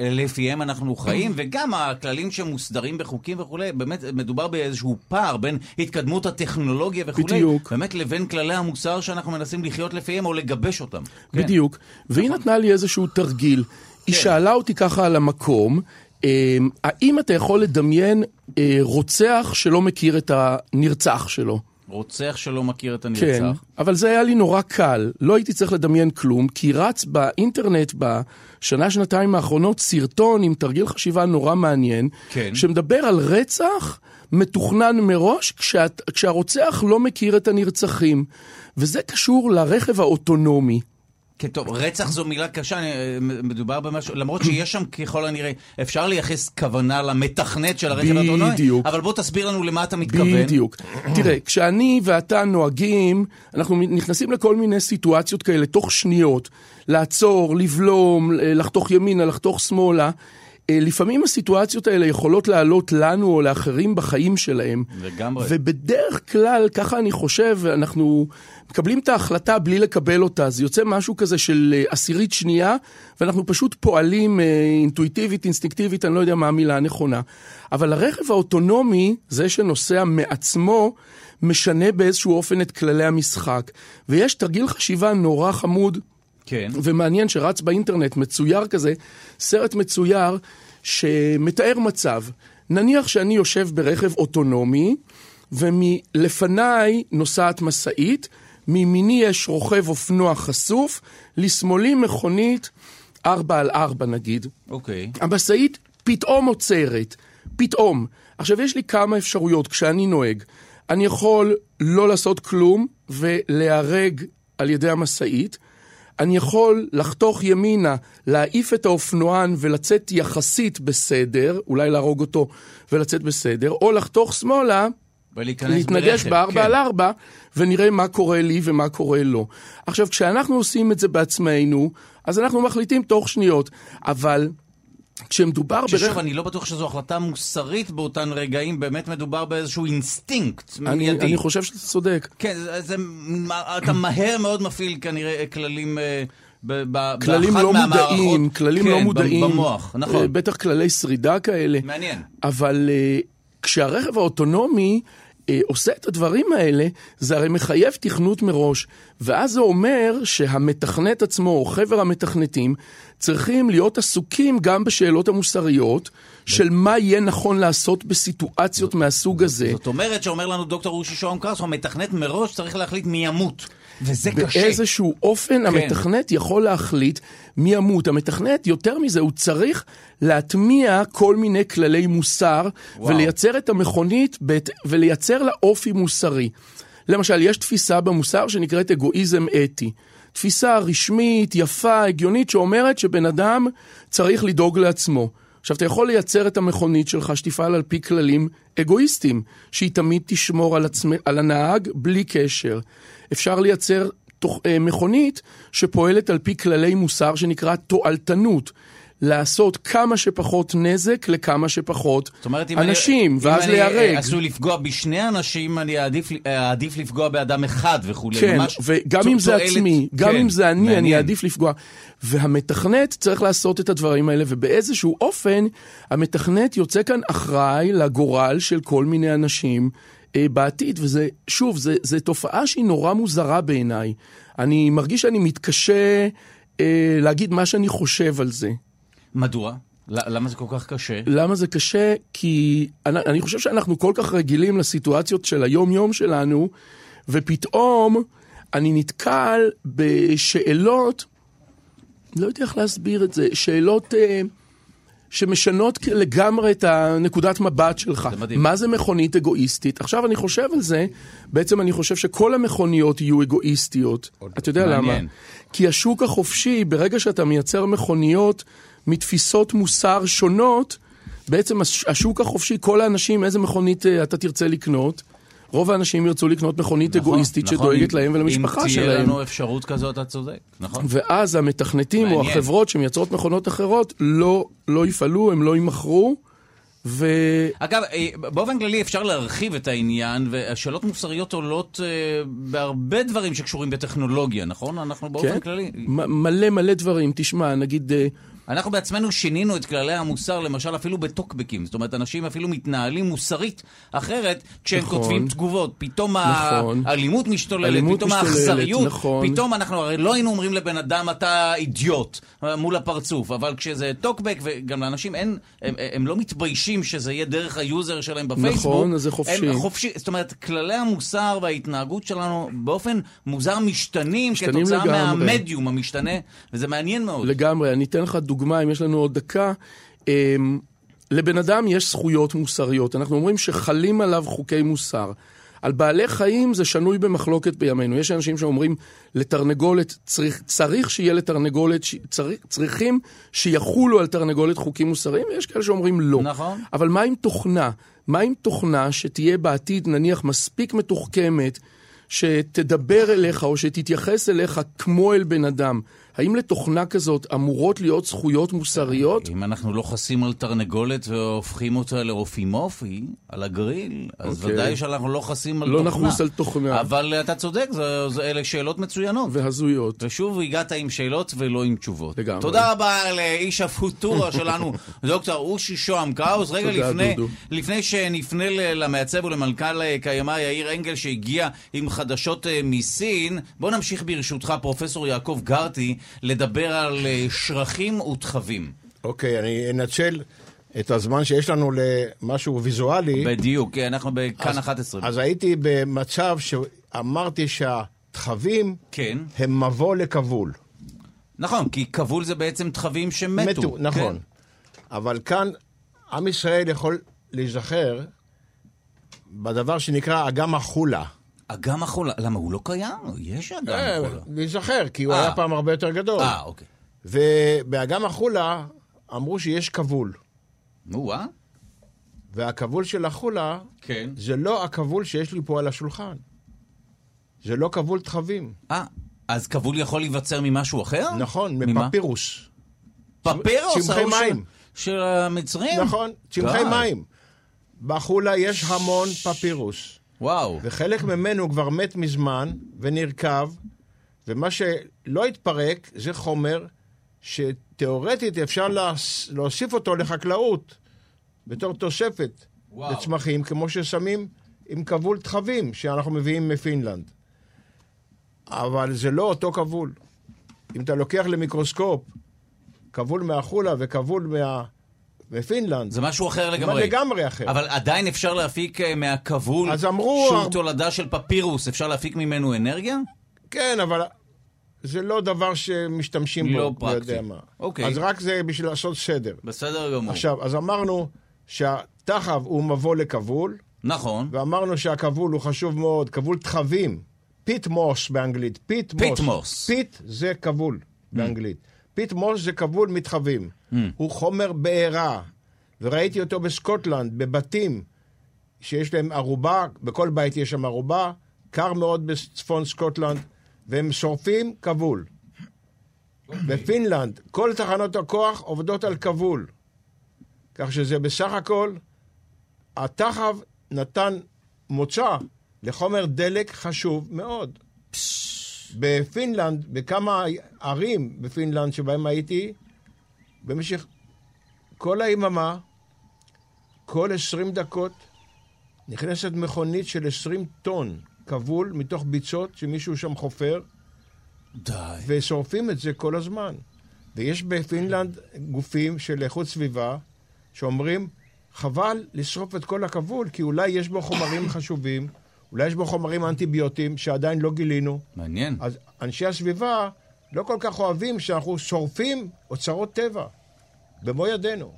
שלפיהם אנחנו חיים, וגם הכללים שמוסדרים בחוקים וכולי, באמת מדובר באיזשהו פער בין התקדמות הטכנולוגיה וכולי,
בדיוק.
באמת לבין כללי המוסר שאנחנו מנסים לחיות לפיהם או לגבש אותם. כן.
בדיוק. והיא נתנה לי איזשהו תרגיל. היא
כן.
שאלה אותי ככה על המקום, אה, האם אתה יכול לדמיין אה, רוצח שלא מכיר את הנרצח שלו?
רוצח שלא מכיר את הנרצח.
כן, אבל זה היה לי נורא קל. לא הייתי צריך לדמיין כלום, כי רץ באינטרנט בשנה, שנתיים האחרונות סרטון עם תרגיל חשיבה נורא מעניין,
כן.
שמדבר על רצח מתוכנן מראש כשאת, כשהרוצח לא מכיר את הנרצחים. וזה קשור לרכב האוטונומי.
כן, טוב, רצח זו מילה קשה, אני, אה, מדובר במשהו, למרות שיש שם ככל הנראה, אפשר לייחס כוונה למתכנת של הרכב האוטונומי,
בדיוק.
אבל בוא תסביר לנו למה אתה מתכוון.
בדיוק. תראה, כשאני ואתה נוהגים, אנחנו נכנסים לכל מיני סיטואציות כאלה, תוך שניות. לעצור, לבלום, לחתוך ימינה, לחתוך שמאלה. אה, לפעמים הסיטואציות האלה יכולות לעלות לנו או לאחרים בחיים שלהם.
לגמרי.
ובדרך כלל, ככה אני חושב, אנחנו מקבלים את ההחלטה בלי לקבל אותה. זה יוצא משהו כזה של אה, עשירית שנייה, ואנחנו פשוט פועלים אה, אינטואיטיבית, אינסטינקטיבית, אני לא יודע מה המילה הנכונה. אבל הרכב האוטונומי, זה שנוסע מעצמו, משנה באיזשהו אופן את כללי המשחק. ויש תרגיל חשיבה נורא חמוד.
כן.
ומעניין שרץ באינטרנט, מצויר כזה, סרט מצויר שמתאר מצב. נניח שאני יושב ברכב אוטונומי, ולפניי נוסעת משאית, מימיני יש רוכב אופנוע חשוף, לשמאלי מכונית 4 על 4 נגיד.
אוקיי.
המשאית פתאום עוצרת, פתאום. עכשיו, יש לי כמה אפשרויות כשאני נוהג. אני יכול לא לעשות כלום ולהיהרג על ידי המשאית. אני יכול לחתוך ימינה, להעיף את האופנוען ולצאת יחסית בסדר, אולי להרוג אותו ולצאת בסדר, או לחתוך שמאלה
ולהיכנס
להתנגש
ברכב,
בארבע
כן.
על ארבע, ונראה מה קורה לי ומה קורה לו. עכשיו, כשאנחנו עושים את זה בעצמנו, אז אנחנו מחליטים תוך שניות, אבל כשמדובר
ששוב,
ברכב...
אני לא בטוח שזו החלטה מוסרית באותן רגעים, באמת מדובר באיזשהו אינסטינקט
אני,
מיידי.
אני חושב שאתה צודק.
כן, זה, זה, אתה מהר מאוד מפעיל כנראה כללים... אה, ב, ב,
כללים
באחת
לא
מהמערכות.
מודעים, כללים
כן,
לא
ב-
מודעים.
במוח,
אה,
נכון.
בטח כללי שרידה כאלה.
מעניין.
אבל אה, כשהרכב האוטונומי אה, עושה את הדברים האלה, זה הרי מחייב תכנות מראש. ואז זה אומר שהמתכנת עצמו, או חבר המתכנתים, צריכים להיות עסוקים גם בשאלות המוסריות של מה יהיה נכון לעשות בסיטואציות מהסוג הזה.
זאת אומרת שאומר לנו דוקטור אושי שוהם קרסו, המתכנת מראש צריך להחליט מי ימות. וזה קשה.
באיזשהו אופן כן. המתכנת יכול להחליט מי ימות. המתכנת, יותר מזה, הוא צריך להטמיע כל מיני כללי מוסר,
וואו.
וואו. ולייצר את המכונית בית, ולייצר לה אופי מוסרי. למשל, יש תפיסה במוסר שנקראת אגואיזם אתי. תפיסה רשמית, יפה, הגיונית, שאומרת שבן אדם צריך לדאוג לעצמו. עכשיו, אתה יכול לייצר את המכונית שלך שתפעל על פי כללים אגואיסטיים, שהיא תמיד תשמור על, עצמי, על הנהג בלי קשר. אפשר לייצר תוך, אה, מכונית שפועלת על פי כללי מוסר שנקרא תועלתנות. לעשות כמה שפחות נזק לכמה שפחות
זאת אומרת, אם
אנשים,
אני,
ואז
אם אני,
להיהרג.
אה, עשוי לפגוע בשני אנשים, אני אעדיף, אה, אעדיף לפגוע באדם אחד וכולי.
כן,
ממש
וגם
תו-
אם זה
תועלת-
עצמי, גם
כן,
אם זה אני, אני
מעניין.
אעדיף לפגוע. והמתכנת צריך לעשות את הדברים האלה, ובאיזשהו אופן, המתכנת יוצא כאן אחראי לגורל של כל מיני אנשים אה, בעתיד, וזה, שוב, זה- זו תופעה שהיא נורא מוזרה בעיניי. אני מרגיש שאני מתקשה אה, להגיד מה שאני חושב על זה.
מדוע? ל- למה זה כל כך קשה?
למה זה קשה? כי אני, אני חושב שאנחנו כל כך רגילים לסיטואציות של היום-יום שלנו, ופתאום אני נתקל בשאלות, לא יודע איך להסביר את זה, שאלות אה, שמשנות כ- לגמרי את הנקודת מבט שלך.
זה מדהים.
מה זה מכונית אגואיסטית? עכשיו אני חושב על זה, בעצם אני חושב שכל המכוניות יהיו אגואיסטיות. אתה יודע
מעניין.
למה? כי השוק החופשי, ברגע שאתה מייצר מכוניות מתפיסות מוסר שונות, בעצם הש- השוק החופשי, כל האנשים, איזה מכונית אה, אתה תרצה לקנות? רוב האנשים ירצו לקנות מכונית
נכון,
אגואיסטית
נכון,
שדואגת
אם-
להם ולמשפחה
אם תהיה
שלהם.
לנו אפשרות כזאת, אתה צודק, נכון?
ואז המתכנתים או
מעניין.
החברות שמייצרות מכונות אחרות לא, לא יפעלו, הם לא יימכרו, ו...
אגב, אה, באופן כללי אפשר להרחיב את העניין, והשאלות מוסריות עולות אה, בהרבה דברים שקשורים בטכנולוגיה, נכון? אנחנו באופן
כן?
כללי...
מ- מלא מלא דברים. תשמע, נגיד... אה,
אנחנו בעצמנו שינינו את כללי המוסר, למשל אפילו בטוקבקים. זאת אומרת, אנשים אפילו מתנהלים מוסרית אחרת כשהם
נכון.
נכון, כותבים תגובות. פתאום
נכון.
נכון, האלימות משתוללת,
האלימות
פתאום
משתוללת,
האכזריות.
נכון.
פתאום אנחנו הרי לא היינו אומרים לבן אדם, אתה אידיוט, אה, מול הפרצוף. אבל כשזה טוקבק, וגם לאנשים אין, הם, הם לא מתביישים שזה יהיה דרך היוזר שלהם בפייסבוק.
נכון, אז זה חופשי.
הם חופשי. זאת אומרת, כללי המוסר וההתנהגות שלנו באופן מוזר משתנים,
משתנים
כתוצאה
לגמרי.
מהמדיום המשתנה, וזה מעניין מאוד.
לגמרי, אני אתן לך דוגמה, אם יש לנו עוד דקה. אמ, לבן אדם יש זכויות מוסריות. אנחנו אומרים שחלים עליו חוקי מוסר. על בעלי חיים זה שנוי במחלוקת בימינו. יש אנשים שאומרים לתרנגולת, צריך, צריך שיהיה לתרנגולת, ש- צריך, צריכים שיחולו על תרנגולת חוקים מוסריים, ויש כאלה שאומרים לא.
נכון.
אבל מה עם תוכנה? מה עם תוכנה שתהיה בעתיד, נניח, מספיק מתוחכמת, שתדבר אליך או שתתייחס אליך כמו אל בן אדם? האם לתוכנה כזאת אמורות להיות זכויות מוסריות?
אם אנחנו לא חסים על תרנגולת והופכים אותה לרופי-מופי, על הגריל, אז
אוקיי.
ודאי שאנחנו לא חסים על
לא
תוכנה.
נחוס על תוכנה.
אבל אתה צודק, זה, זה, אלה שאלות מצוינות.
והזויות.
ושוב הגעת עם שאלות ולא עם תשובות.
לגמרי.
תודה רבה לאיש הפוטורה שלנו, דוקטור אושי שוהם קראוס. רגע
תודה,
לפני,
דודו.
לפני שנפנה ל- למעצב ולמנכ"ל אה, קיימא יאיר אנגל שהגיע עם חדשות אה, מסין, בוא נמשיך ברשותך, פרופסור יעקב גרטי, לדבר על אה, שרחים ותחבים.
אוקיי, אני אנצל את הזמן שיש לנו למשהו ויזואלי.
בדיוק, כן, אנחנו בכאן 11.
אז הייתי במצב שאמרתי שהתחבים
כן.
הם מבוא לכבול.
נכון, כי כבול זה בעצם תחבים שמתו.
מתו,
כן.
נכון. אבל כאן עם ישראל יכול להיזכר בדבר שנקרא אגם החולה. אה,
אגם החולה, למה הוא לא קיים? יש אגם החולה.
להיזכר, כי הוא
אה.
היה פעם הרבה יותר גדול.
אה, אוקיי.
ובאגם החולה אמרו שיש כבול.
נו, אה?
והכבול של החולה
כן.
זה לא הכבול שיש לי פה על השולחן. זה לא כבול תחבים.
אה, אז כבול יכול להיווצר ממשהו אחר?
נכון,
ממה?
מפפירוס.
פפירוס,
צמחי
ההוא של-
מים.
של אה, המצרים?
נכון, צמחי
די.
מים. בחולה יש המון פפירוס.
וואו.
וחלק ממנו כבר מת מזמן ונרקב, ומה שלא התפרק זה חומר שתאורטית אפשר להס- להוסיף אותו לחקלאות בתור תוספת
וואו.
לצמחים, כמו ששמים עם כבול תחבים שאנחנו מביאים מפינלנד. אבל זה לא אותו כבול. אם אתה לוקח למיקרוסקופ כבול מהחולה וכבול מה... מפינלנד,
זה משהו אחר
זה
לגמרי.
לגמרי אחר.
אבל עדיין אפשר להפיק אה, מהכבול,
אז אמרו-
שהוא תולדה של פפירוס, אפשר להפיק ממנו אנרגיה?
כן, אבל זה לא דבר שמשתמשים
לא
בו, לא
פרקטי.
יודע מה.
אוקיי.
אז רק זה בשביל לעשות סדר.
בסדר גמור.
עכשיו, אז אמרנו שהתחב הוא מבוא לכבול,
נכון.
ואמרנו שהכבול הוא חשוב מאוד, כבול תחבים. פיט מוס באנגלית, פיט מוס.
פית מוס.
פיט זה כבול באנגלית. פיט מוס זה כבול מתחבים. הוא חומר בעירה, וראיתי אותו בסקוטלנד, בבתים שיש להם ערובה, בכל בית יש שם ערובה, קר מאוד בצפון סקוטלנד, והם שורפים כבול. בפינלנד, כל תחנות הכוח עובדות על כבול. כך שזה בסך הכל, התחב נתן מוצא לחומר דלק חשוב מאוד. בפינלנד, בכמה ערים בפינלנד שבהם הייתי, במשך כל היממה, כל 20 דקות, נכנסת מכונית של 20 טון כבול מתוך ביצות שמישהו שם חופר,
די.
ושורפים את זה כל הזמן. ויש בפינלנד גופים של איכות סביבה שאומרים, חבל לשרוף את כל הכבול, כי אולי יש בו חומרים חשובים, אולי יש בו חומרים אנטיביוטיים שעדיין לא גילינו.
מעניין.
אז אנשי הסביבה לא כל כך אוהבים שאנחנו שורפים אוצרות טבע במו ידינו.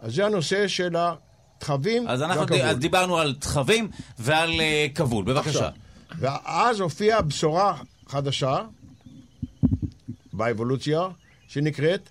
אז זה הנושא של התחבים
אז אנחנו ד... אז דיברנו על תחבים ועל uh, כבול, בבקשה.
עכשיו, ואז הופיעה בשורה חדשה באבולוציה, שנקראת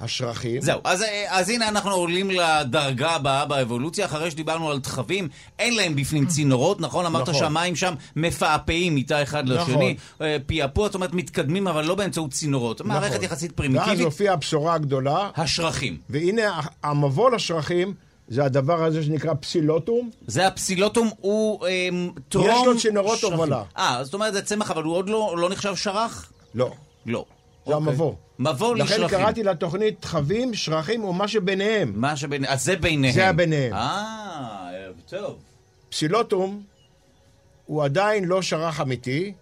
השרחים.
זהו, אז, אה, אז הנה אנחנו עולים לדרגה הבאה באבולוציה, אחרי שדיברנו על תחבים, אין להם בפנים צינורות, נכון? אמרת
נכון.
שהמים שם מפעפעים איתה אחד
נכון. נכון.
לשני, אה, פעפוע, זאת אומרת מתקדמים, אבל לא באמצעות צינורות. מערכת יחסית
ואז
פרימיטיבית,
הופיעה הבשורה הגדולה,
השרחים.
והנה המבוא לשרחים זה הדבר הזה שנקרא פסילוטום.
זה הפסילוטום, הוא אמ, טרום...
יש לו צינורות
שרחים.
הובלה.
אה, זאת אומרת זה צמח, אבל הוא עוד לא, לא נחשב שרח?
לא,
לא. אוקיי.
זה המבוא.
מבוא
לכן
לשרחים.
קראתי לתוכנית חבים, שרחים ומה שביניהם.
מה שבין... אז זה ביניהם.
זה הביניהם.
אה, טוב.
פסילוטום הוא עדיין לא שרח אמיתי,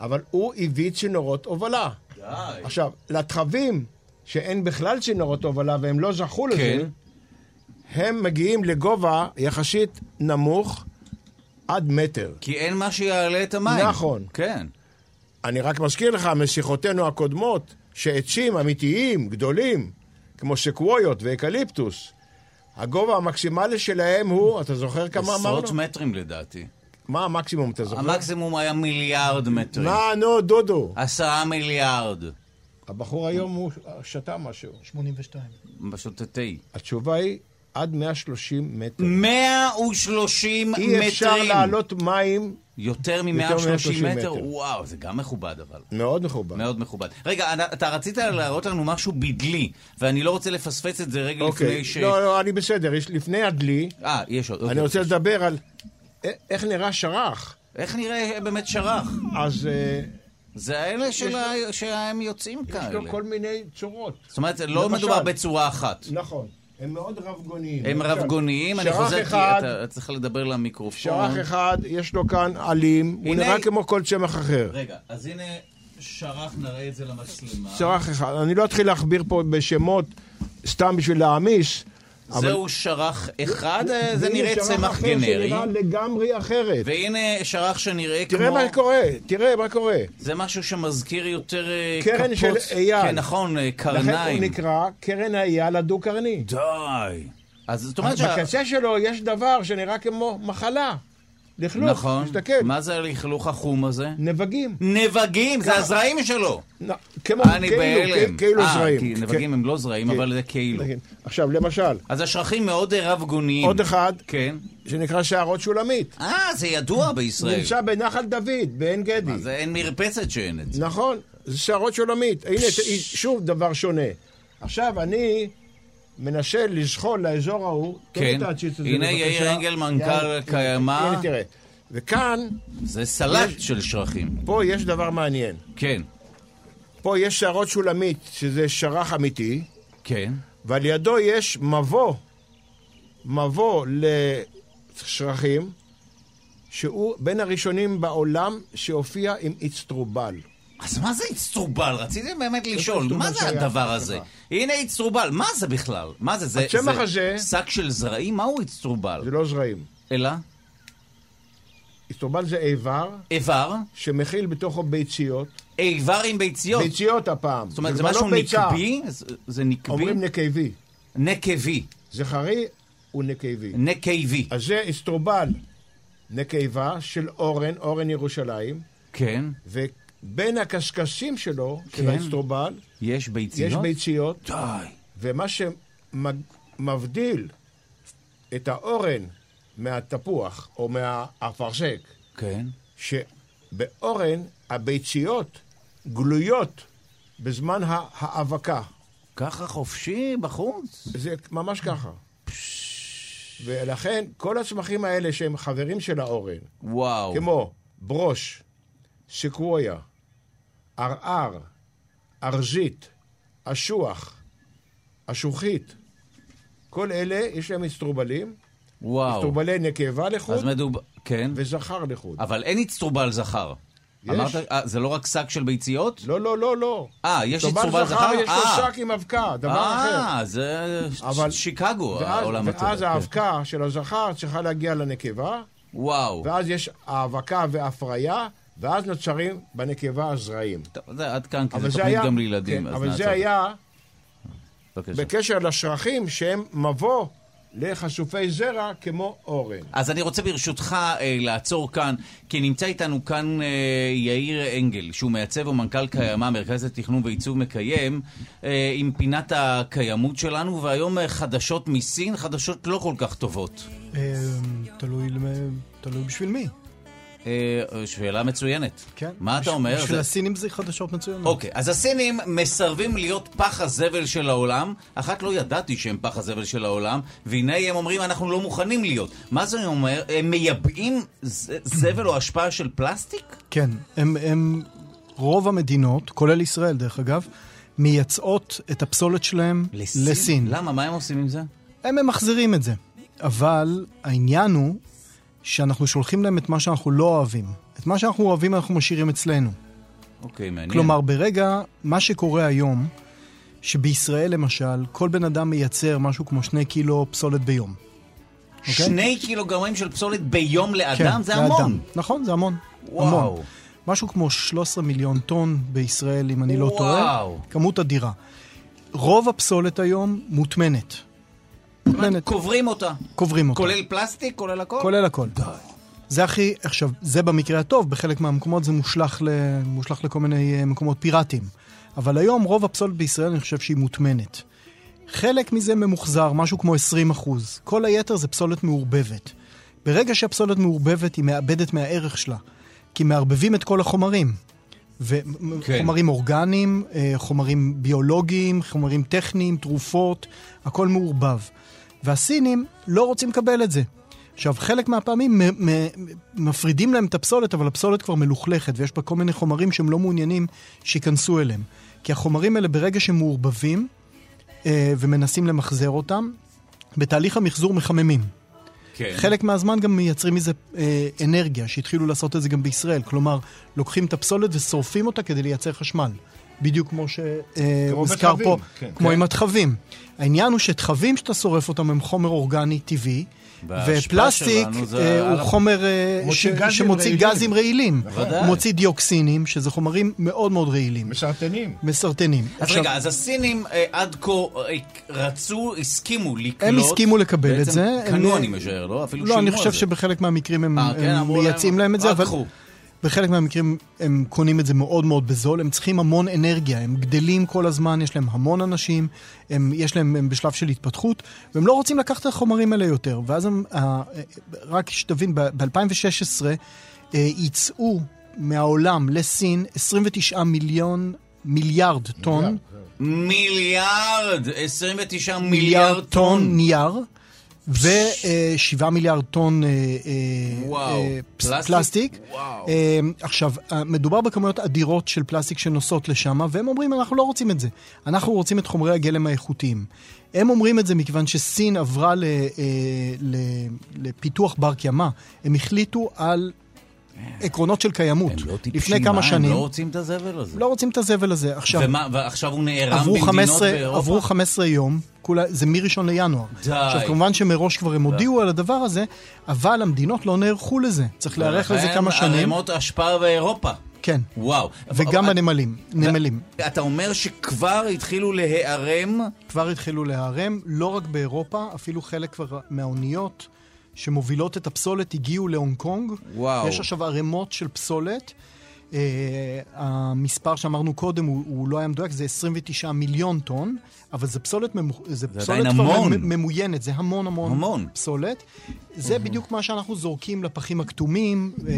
אבל הוא הביא צינורות הובלה.
די.
עכשיו, לתחבים שאין בכלל צינורות הובלה והם לא זכו לזה,
כן.
הם מגיעים לגובה יחסית נמוך עד מטר.
כי אין מה שיעלה את המים.
נכון.
כן.
אני רק מזכיר לך משיחותינו הקודמות, שעצים אמיתיים, גדולים, כמו סקוויות ואקליפטוס, הגובה המקסימלי שלהם הוא, אתה זוכר כמה אמרנו?
עשרות מטרים לדעתי.
מה המקסימום, אתה זוכר?
המקסימום היה מיליארד מטרים.
מה, נו, דודו.
עשרה מיליארד.
הבחור היום הוא שתה משהו.
82.
פשוט תתי.
התשובה היא עד 130 מטר.
130 מטרים.
אי אפשר לעלות מים
יותר
יותר
מ-130
מ-
מטר?
מטר.
וואו, זה גם מכובד אבל.
מאוד מכובד.
מאוד מכובד. רגע, אנ- אתה רצית להראות לנו משהו בדלי, ואני לא רוצה לפספס את זה רגע
אוקיי.
לפני ש...
לא, לא, אני בסדר. יש- לפני הדלי,
אה, יש עוד.
אני
אוקיי.
רוצה לדבר על א- איך נראה שרח.
איך נראה אה, באמת שרח?
אז אה,
זה האלה של ה- שהם יוצאים
יש
כאלה.
לו כל מיני צורות.
זאת אומרת, זה לא
למשל.
מדובר בצורה אחת.
נכון. הם מאוד רבגוניים.
הם
למשל,
רבגוניים, אני
שרח
חוזר כי
אחד-
אתה צריך לדבר למיקרופון.
שרח אחד, יש לו כאן עלים, הוא
הנה-
נראה כמו כל צמח אחר.
רגע, אז הנה שרח, נראה את זה למצלמה.
שרח אחד. אני לא אתחיל להכביר פה בשמות סתם בשביל להעמיס. אבל-
זהו שרח אחד, אה, זה
והנה
נראה
שרח
צמח
אחר
גנרי.
שנראה לגמרי אחרת.
והנה שרח שנראה כמו...
תראה מה קורה, תראה מה קורה.
זה משהו שמזכיר יותר אה,
קרן
קפוץ.
של אייל.
כן, נכון, אה,
לכן הוא
קרניים.
נקרא קרן האייל הדו-קרני.
די. אז זאת אומרת שה...
בקצה שלו יש דבר שנראה כמו מחלה. לכלוך,
נכון.
תסתכל.
מה זה הלכלוך החום הזה?
נבגים.
נבגים, זה הזרעים שלו.
נ- כמו,
אני
כאילו,
בהלם.
כ- כאילו
אה,
זרעים.
כי נבגים הם לא זרעים, אבל זה כאילו.
כן. עכשיו, למשל,
אז השרחים מאוד אה, רב-גוניים.
עוד אחד,
כן.
שנקרא שערות שולמית.
אה, זה ידוע בישראל.
נמצא בנחל דוד, בעין גדי.
אז אין מרפסת שאין את זה.
נכון, זה שערות שולמית. הנה, ת- שוב דבר שונה. עכשיו, אני מנסה לזחול לאזור ההוא.
כן.
תוריד את העציץ הזה,
הנה
בבקשה.
יאיר אנגל, מנכ"ל
יאיר,
קיימא.
הנה, תראה. וכאן,
זה סלט של שרחים.
פה יש דבר מעניין.
כן.
פה יש שערות שולמית, שזה שרח אמיתי,
כן.
ועל ידו יש מבוא, מבוא לשרחים, שהוא בין הראשונים בעולם שהופיע עם איצטרובל.
אז מה זה אצטרובל? רציתי באמת לשאול,
אצטרובל
מה זה
שהיה?
הדבר הזה? הנה אצטרובל, מה זה בכלל? מה זה? זה
הצמח
זה
הזה-
שק של זרעים? מהו אצטרובל?
זה לא זרעים.
אלא?
איצטרובל זה איבר
איבר?
שמכיל בתוכו ביציות,
איבר עם ביציות.
ביציות הפעם.
לא. זאת אומרת, זה
כבר לא
משהו
ביצה.
נקבי? זה- זה נקבי?
אומרים נקבי.
נקבי.
זכרי הוא נקבי.
נקבי.
אז זה איסטרובל נקבה של אורן, אורן ירושלים,
כן.
ובין הקשקשים שלו,
כן.
של האיסטרובל,
יש
יש
ביציות?
ביציות,
די.
ומה שמבדיל את האורן מהתפוח או מהאפרסק,
כן.
שבאורן הביציות גלויות בזמן הה- ההאבקה.
ככה חופשי בחוץ?
זה ממש ככה. ולכן כל הצמחים האלה שהם חברים של האורן,
וואו.
כמו ברוש, סקוויה, ערער, ארזית, אשוח, אשוחית, כל אלה יש להם אסטרובלים,
וואו.
אסטרובלי נקבה לחוד
אז מדובר... כן.
וזכר לחוד.
אבל אין אצטרובל זכר.
יש.
אמרת, אה, זה לא רק שק של ביציות?
לא, לא, לא, לא.
אה, יש
אסטרובל
אסטרובל זכר?
יש לו
אה.
שק עם אבקה, דבר אחר.
אה, זה ש-
אבל-
שיקגו,
ואז,
העולם הצודק.
ואז
כן.
האבקה של הזכר צריכה להגיע לנקבה,
וואו.
ואז יש האבקה והפריה, ואז נוצרים בנקבה הזרעים.
טוב, זה עד כאן, כי זו תוכנית גם לילדים.
כן,
אז
אבל
נעצור.
זה היה
בבקשה.
בקשר לשרחים שהם מבוא לחשופי זרע כמו אורן.
אז אני רוצה ברשותך אה, לעצור כאן, כי נמצא איתנו כאן אה, יאיר אנגל, שהוא מעצב ומנכ"ל קיימא, מרכז לתכנון ועיצוב מקיים, אה, עם פינת הקיימות שלנו, והיום אה, חדשות מסין, חדשות לא כל כך טובות.
אמ, תלוי למ- תלוי בשביל מי.
אה, שאלה מצוינת.
כן.
מה אתה
בש-
אומר?
בשביל
זה-
הסינים זה חדשות מצוינות.
אוקיי, אז הסינים מסרבים להיות פח הזבל של העולם. אחת לא ידעתי שהם פח הזבל של העולם, והנה הם אומרים, אנחנו לא מוכנים להיות. מה זה אומר? הם מייבאים ז- זבל או השפעה של פלסטיק?
כן, הם, הם, רוב המדינות, כולל ישראל דרך אגב, מייצאות את הפסולת שלהם לסין.
למה? מה הם עושים עם זה?
הם ממחזרים את זה. אבל העניין הוא שאנחנו שולחים להם את מה שאנחנו לא אוהבים. את מה שאנחנו אוהבים אנחנו משאירים אצלנו.
אוקיי, מעניין.
כלומר, ברגע, מה שקורה היום, שבישראל למשל, כל בן אדם מייצר משהו כמו שני קילו פסולת ביום. אוקיי?
שני קילוגרמים של פסולת ביום לאדם?
כן,
זה המון.
לאדם. נכון, זה המון.
וואו.
המון. משהו כמו 13 מיליון טון בישראל, אם אני לא
וואו.
טועה. כמות אדירה. רוב הפסולת היום מוטמנת. מוטמנת,
קוברים אותה.
קוברים אותה.
כולל פלסטיק? כולל הכל?
כולל הכל. זה הכי, עכשיו, זה במקרה הטוב, בחלק מהמקומות זה מושלך, ל, מושלך לכל מיני אה, מקומות פיראטיים. אבל היום רוב הפסולת בישראל, אני חושב שהיא מוטמנת. חלק מזה ממוחזר, משהו כמו 20 אחוז. כל היתר זה פסולת מעורבבת. ברגע שהפסולת מעורבבת, היא מאבדת מהערך שלה. כי מערבבים את כל החומרים.
כן.
וחומרים כן. אורגניים, אה, חומרים ביולוגיים, חומרים טכניים, תרופות, הכל מעורבב. והסינים לא רוצים לקבל את זה. עכשיו, חלק מהפעמים מ- מ- מפרידים להם את הפסולת, אבל הפסולת כבר מלוכלכת, ויש בה כל מיני חומרים שהם לא מעוניינים שייכנסו אליהם. כי החומרים האלה, ברגע שהם מעורבבים, אה, ומנסים למחזר אותם, בתהליך המחזור מחממים.
כן.
חלק מהזמן גם מייצרים מזה אה, אנרגיה, שהתחילו לעשות את זה גם בישראל. כלומר, לוקחים את הפסולת ושורפים אותה כדי לייצר חשמל. בדיוק כמו
כמו
שהוזכר
בתחבים,
פה,
כן.
כמו עם התחבים. העניין הוא שתחבים שאתה שורף אותם הם חומר אורגני טבעי,
וההשפעה
ופלסטיק
שלנו זה
אה,
על
הוא
ה-
חומר אה, ש-
מוציא גזים
שמוציא
רעילים.
גזים רעילים.
בוודאי.
הוא מוציא דיוקסינים, שזה חומרים מאוד מאוד רעילים,
מסרטנים.
מסרטנים.
אז רגע, אז הסינים אה, עד כה אה, רצו, הסכימו לקלוט.
הם הסכימו לקבל את
בעצם
זה,
קנו,
הם-
אני משער, לא? אפילו
לא,
שילמו
אני
על
חושב
זה.
שבחלק מהמקרים הם
אה, כן,
הם
אמרו
מייצאים להם את זה,
רק
אבל
קחו.
בחלק מהמקרים הם קונים את זה מאוד מאוד בזול, הם צריכים המון אנרגיה, הם גדלים כל הזמן, יש להם המון אנשים, הם, יש להם, הם בשלב של התפתחות, והם לא רוצים לקחת את החומרים האלה יותר. ואז הם, אה, אה, רק שתבין, ב-2016 אה, ייצאו מהעולם לסין 29 מיליון, מיליארד טון,
מיליארד, 29 מיליארד טון.
נייר. ו-7 מיליארד טון אה, אה,
וואו,
אה, פס-
פלסטיק?
פלסטיק.
וואו.
אה, עכשיו, אה, מדובר בכמויות אדירות של פלסטיק שנוסעות לשם, והם אומרים, אנחנו לא רוצים את זה. אנחנו רוצים את חומרי הגלם האיכותיים. הם אומרים את זה מכיוון שסין עברה ל- אה, ל- לפיתוח בר קיימא. הם החליטו על עקרונות של קיימות.
אה. הם לא טיפשים,
לפני כמה
מה,
שנים.
הם לא רוצים את הזבל הזה.
לא רוצים את הזבל הזה. עכשיו,
ומה, ועכשיו הוא נערם
עברו
במדינות
15,
באירופה?
עברו 15 יום, כולה, זה מראשון לינואר.
די.
עכשיו, כמובן שמראש כבר הם הודיעו על הדבר הזה, אבל המדינות לא נערכו לזה. צריך להיערך לזה כמה
ולכן
שנים.
ערימות אשפה באירופה.
כן.
וואו.
וגם
אבל-
הנמלים, נמלים.
אתה אומר שכבר התחילו להיערם?
כבר התחילו להיערם, לא רק באירופה, אפילו חלק כבר מהאוניות שמובילות את הפסולת הגיעו להונג קונג.
וואו.
יש עכשיו ערימות של פסולת. Uh, המספר שאמרנו קודם הוא, הוא לא היה מדויק, זה 29 מיליון טון, אבל זה פסולת, ממוח... זה פסולת
עדיין
כבר
המון.
ממ- ממוינת, זה המון המון,
המון. אוקיי.
פסולת. זה בדיוק מה שאנחנו זורקים לפחים הכתומים, אה,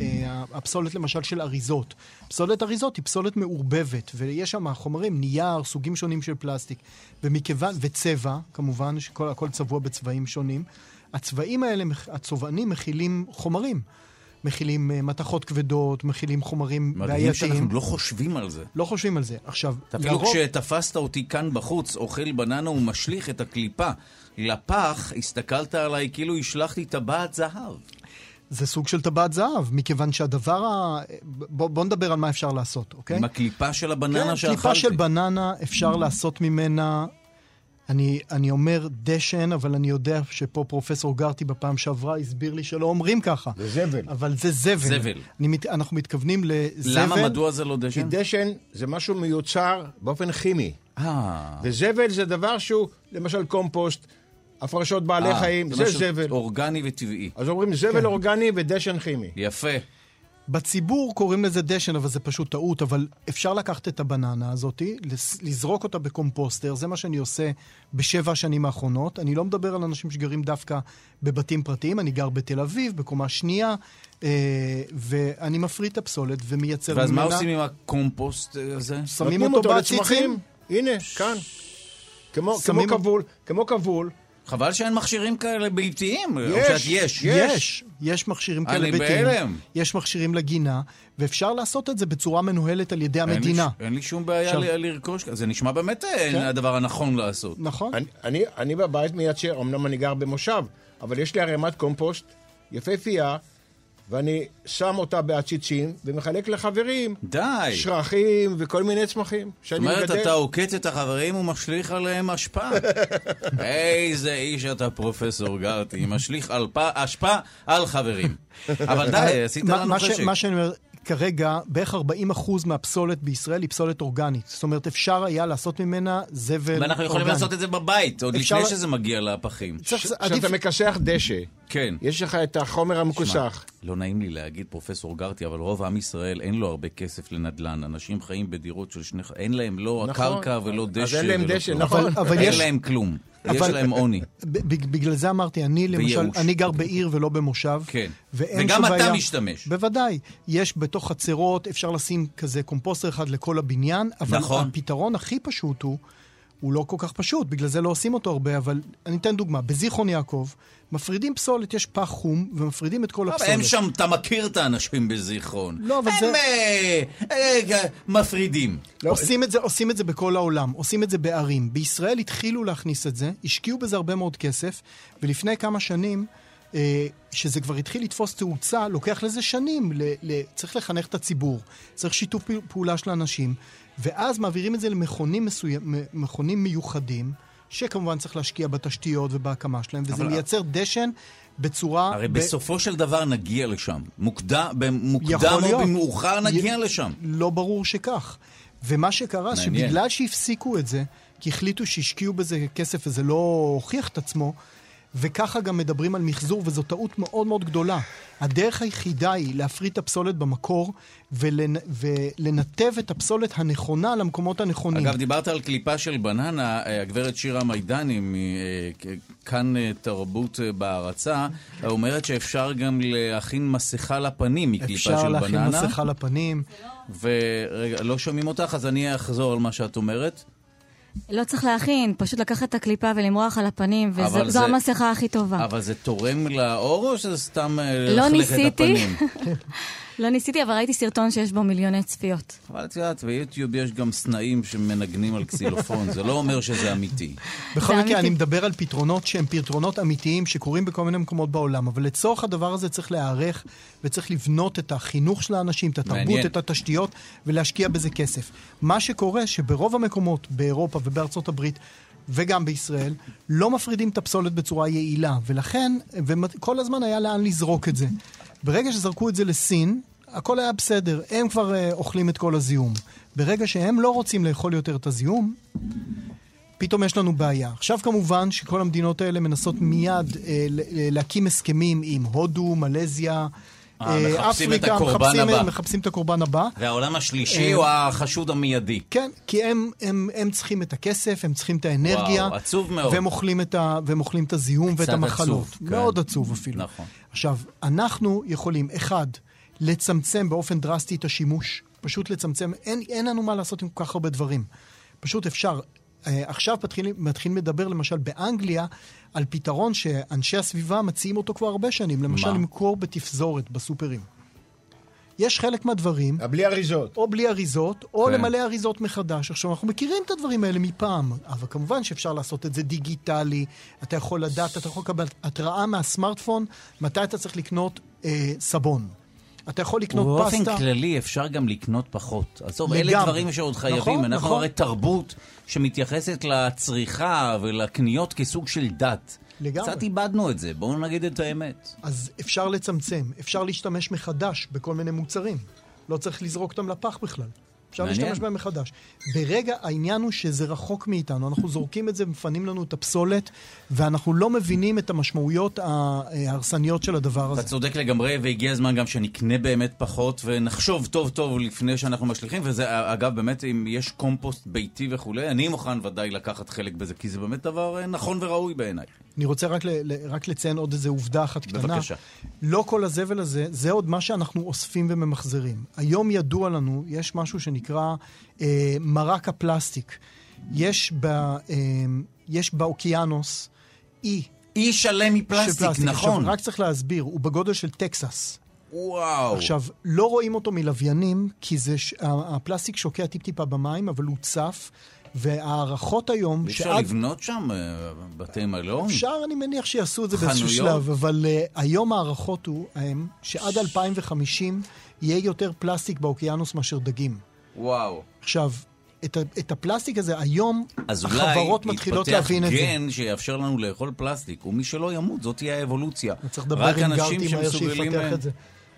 אה, הפסולת למשל של אריזות. פסולת אריזות היא פסולת מעורבבת, ויש שם חומרים, נייר, סוגים שונים של פלסטיק. ומכיוון, וצבע, כמובן, שהכל צבוע בצבעים שונים. הצבעים האלה, מכ- הצובענים, מכילים חומרים. מכילים אה, מתכות כבדות, מכילים חומרים
מדהים
בעייתיים.
שאנחנו לא חושבים על זה.
לא חושבים על זה. עכשיו,
אפילו כשתפסת אותי כאן בחוץ, אוכל בננה ומשליך את הקליפה לפח, הסתכלת עליי כאילו השלכתי טבעת זהב.
זה סוג של טבעת זהב, מכיוון שהדבר ה... בוא, בוא נדבר על מה אפשר לעשות, אוקיי?
עם הקליפה של הבננה
כן,
שאכלתי.
קליפה של בננה, אפשר לעשות ממנה, אני, אני אומר דשן, אבל אני יודע שפה פרופסור גרטי בפעם שעברה הסביר לי שלא אומרים ככה.
זה זבל.
אבל זה זבל.
זבל.
אני מת, אנחנו מתכוונים לזבל.
למה, מדוע זה לא
כי
דשן?
דשן זה משהו מיוצר באופן כימי.
אה,
וזבל זה דבר שהוא, למשל קומפוסט, הפרשות בעלי
אה,
חיים, זה
משהו כן.
זבל.
אורגני וטבעי.
אז אומרים זבל אורגני ודשן כימי.
יפה.
בציבור קוראים לזה דשן, אבל זה פשוט טעות, אבל אפשר לקחת את הבננה הזאת, לס- לזרוק אותה בקומפוסטר, זה מה שאני עושה בשבע השנים האחרונות. אני לא מדבר על אנשים שגרים דווקא בבתים פרטיים, אני גר בתל אביב, בקומה שנייה, אה, ואני מפריט את הפסולת ומייצר
ואז מה עושים עם הקומפוסט הזה?
שמים
נותנים
אותו
לצמחים.
בעציצים,
הנה, כאן. כמו כמו
שמים-
כבול, כמו כבול.
חבל שאין מכשירים כאלה ביתיים. או
יש,
שאת- יש.
יש, יש מכשירים כאלה
אני
ביתיים.
בהלם.
יש מכשירים לגינה, ואפשר לעשות את זה בצורה מנוהלת על ידי
אין לי
המדינה.
ש- אין לי שום בעיה
עכשיו-
ל- לרכוש. זה נשמע באמת אה, הדבר הנכון לעשות.
נכון?
אני- אני- אני בבית מייצר, אמנם אני גר במושב, אבל יש לי ערימת קומפוסט יפהפייה, ואני שם אותה בעציצים ומחלק לחברים
די. זאת
שרחים וכל מיני צמחים שאני
אומרת,
מגדל.
אתה עוקץ את החברים ומשליך עליהם אשפה. איזה איש אתה, פרופסור גרטי, משליך על פ- אשפה על חברים. אבל די, אה, עשית
מה-
לנו
מה ש-
חשק.
מה שאני אומר, כרגע, בערך 40% מהפסולת בישראל היא פסולת אורגנית. זאת אומרת, אפשר היה לעשות ממנה זבל אורגני.
ואנחנו יכולים לעשות את זה בבית, עוד
אפשר-
לפני שזה מגיע לפחים.
צריך- עדיף-
כשאתה מכסח דשא,
כן.
יש לך את החומר המכוסח.
לא נעים לי להגיד, פרופסור גרטי, אבל רוב עם ישראל אין לו הרבה כסף לנדל"ן. אנשים חיים בדירות של שני... ח- אין להם לא
נכון.
הקרקע ולא דשא.
אז אין להם
ולא
דשא,
כלום.
נכון.
אבל- אבל
אין
יש-
להם כלום. יש
אבל-
להם עוני.
ב- ב- בגלל זה אמרתי, אני למשל,
וייאוש.
אני גר בעיר ולא במושב.
כן.
ואין
וגם
שום
אתה
בעיה.
משתמש.
בוודאי. יש בתוך חצרות, אפשר לשים כזה קומפוסטר אחד לכל הבניין, אבל
נכון.
הפתרון הכי פשוט הוא, הוא לא כל כך פשוט, בגלל זה לא עושים אותו הרבה, אבל אני אתן דוגמה. בזיכרון יעקב, מפרידים פסולת, יש פח חום, ומפרידים את כל
אבל
הפסולת.
הם שם, אתה מכיר את האנשים בזיכרון.
לא, אבל
הם
זה-
אה, אה, אה, מפרידים.
לא, עושים, את זה, עושים את זה בכל העולם, עושים את זה בערים. בישראל התחילו להכניס את זה, השקיעו בזה הרבה מאוד כסף, ולפני כמה שנים, אה, שזה כבר התחיל לתפוס תאוצה, לוקח לזה שנים. ל, ל, צריך לחנך את הציבור, צריך שיתוף פעול- פעולה של אנשים, ואז מעבירים את זה למכונים מסוי... מ- מכונים מיוחדים, שכמובן צריך להשקיע בתשתיות ובהקמה שלהם, וזה
אבל-
מייצר דשן בצורה...
הרי
ב-
בסופו של דבר נגיע לשם. מוקדם במוקדם
יכול
או
להיות.
במאוחר נגיע לשם.
לא ברור שכך. ומה שקרה,
מעניין.
שבגלל שהפסיקו את זה, כי החליטו שהשקיעו בזה כסף וזה לא הוכיח את עצמו, וככה גם מדברים על מחזור, וזו טעות מאוד מאוד גדולה. הדרך היחידה היא להפריט את הפסולת במקור, ולנ... ולנתב את הפסולת הנכונה למקומות הנכונים.
אגב, דיברת על קליפה של בננה, אה, הגברת שירה מידני מכאן אה, תרבות אה, בהערצה, אומרת שאפשר גם להכין מסכה לפנים מקליפה של בננה.
אפשר להכין מסכה לפנים.
ורגע, לא שומעים אותך, אז אני אחזור על מה שאת אומרת.
לא צריך להכין, פשוט לקחת את הקליפה ולמרוח על הפנים,
אבל
וזו
זה-
המסכה הכי
אה.
טובה.
אבל זה תורם לאור או שזה סתם אה,
לא
לכלך את
ניסיתי.
הפנים?
לא ניסיתי, אבל ראיתי סרטון שיש בו מיליוני צפיות.
אבל את יודעת, ביוטיוב יש גם סנאים שמנגנים על קסילופון, זה לא אומר שזה אמיתי.
בכל
זה
מקרה, אני
אמיתי.
מדבר על פתרונות שהם פתרונות אמיתיים שקורים בכל מיני מקומות בעולם, אבל לצורך הדבר הזה צריך להיערך וצריך לבנות את החינוך של האנשים, את התרבות,
מעניין.
את התשתיות, ולהשקיע בזה כסף. מה שקורה שברוב המקומות באירופה ובארצות הברית, וגם בישראל, לא מפרידים את הפסולת בצורה יעילה, ולכן, וכל הזמן היה לאן לזרוק את זה. ברגע שזרקו את זה לסין, הכל היה בסדר, הם כבר אה, אוכלים את כל הזיהום. ברגע שהם לא רוצים לאכול יותר את הזיהום, פתאום יש לנו בעיה. עכשיו כמובן שכל המדינות האלה מנסות מיד אה, ל- ל- להקים הסכמים עם הודו, מלזיה,
אה, מחפשים את
אפריקה,
הקורבן
מחפשים,
הבא.
מחפשים את הקורבן הבא.
והעולם השלישי הוא החשוד המיידי.
כן, כי הם, הם, הם צריכים את הכסף, הם צריכים את האנרגיה.
וואו, עצוב מאוד.
והם אוכלים את, ה, והם אוכלים את הזיהום ואת
קצת
המחלות.
עצוב, כן.
מאוד עצוב אפילו.
נכון.
עכשיו, אנחנו יכולים, אחד, לצמצם באופן דרסטי את השימוש. פשוט לצמצם, אין, אין לנו מה לעשות עם כל כך הרבה דברים. פשוט אפשר. אה, עכשיו מתחילים מתחיל לדבר למשל באנגליה על פתרון שאנשי הסביבה מציעים אותו כבר הרבה שנים. למשל,
מה?
למכור בתפזורת בסופרים. יש חלק מהדברים
בלי אריזות.
או בלי אריזות, או
כן.
כן. למלא אריזות מחדש. עכשיו, אנחנו מכירים את הדברים האלה מפעם, אבל כמובן שאפשר לעשות את זה דיגיטלי, אתה יכול לדעת, אתה יכול לקבל התראה מהסמארטפון, מתי אתה צריך לקנות אה, סבון. אתה יכול לקנות
ובאופן
פסטה.
כללי אפשר גם לקנות פחות. עזוב, אלה
לגמרי.
דברים שעוד חייבים.
נכון,
אנחנו
נכון.
הרי תרבות שמתייחסת לצריכה ולקניות כסוג של דת.
לגמרי.
קצת איבדנו את זה, בואו נגיד את האמת.
אז אפשר לצמצם, אפשר להשתמש מחדש בכל מיני מוצרים. לא צריך לזרוק אותם לפח בכלל. אפשר
מעניין.
להשתמש בהם מחדש. ברגע, העניין הוא שזה רחוק מאיתנו. אנחנו זורקים את זה ומפנים לנו את הפסולת, ואנחנו לא מבינים את המשמעויות אה, ההרסניות של הדבר הזה.
אתה צודק לגמרי, והגיע הזמן גם שנקנה באמת פחות, ונחשוב טוב טוב לפני שאנחנו משליכים, וזה אגב, באמת, אם יש קומפוסט ביתי וכולי, אני מוכן ודאי לקחת חלק בזה, כי זה באמת דבר אה, נכון וראוי בעיניי.
אני רוצה רק, ל, ל, רק לציין עוד איזו עובדה אחת קטנה.
בבקשה.
לא כל הזבל הזה, זה עוד מה שאנחנו אוספים וממחזרים. היום ידוע לנו, יש משהו שנקרא אה, מרק הפלסטיק. יש, ב, אה, יש באוקיינוס אי
אי שלם
של
מפלסטיק,
פלסטיק.
נכון.
עכשיו, רק צריך להסביר, הוא בגודל של טקסס.
וואו.
עכשיו, לא רואים אותו מלוויינים, כי זה, ש- ה- הפלסטיק שוקע טיפ-טיפה במים, אבל הוא צף, וההערכות היום,
אי אפשר לבנות שם אה, בתי מלון?
אפשר, אני מניח שיעשו את זה באיזשהו
חנויות?
שלב, אבל uh, היום ההערכות הוא הם, שעד 2050 יהיה יותר פלסטיק באוקיינוס מאשר דגים.
וואו.
עכשיו, את, ה- את הפלסטיק הזה היום,
אז אולי
החברות מתחילות להבין את זה.
גן שיאפשר לנו לאכול פלסטיק, ומי שלא ימות, זאת תהיה האבולוציה.
צריך לדבר עם גרטי מהר שיפתח
אה,
את זה.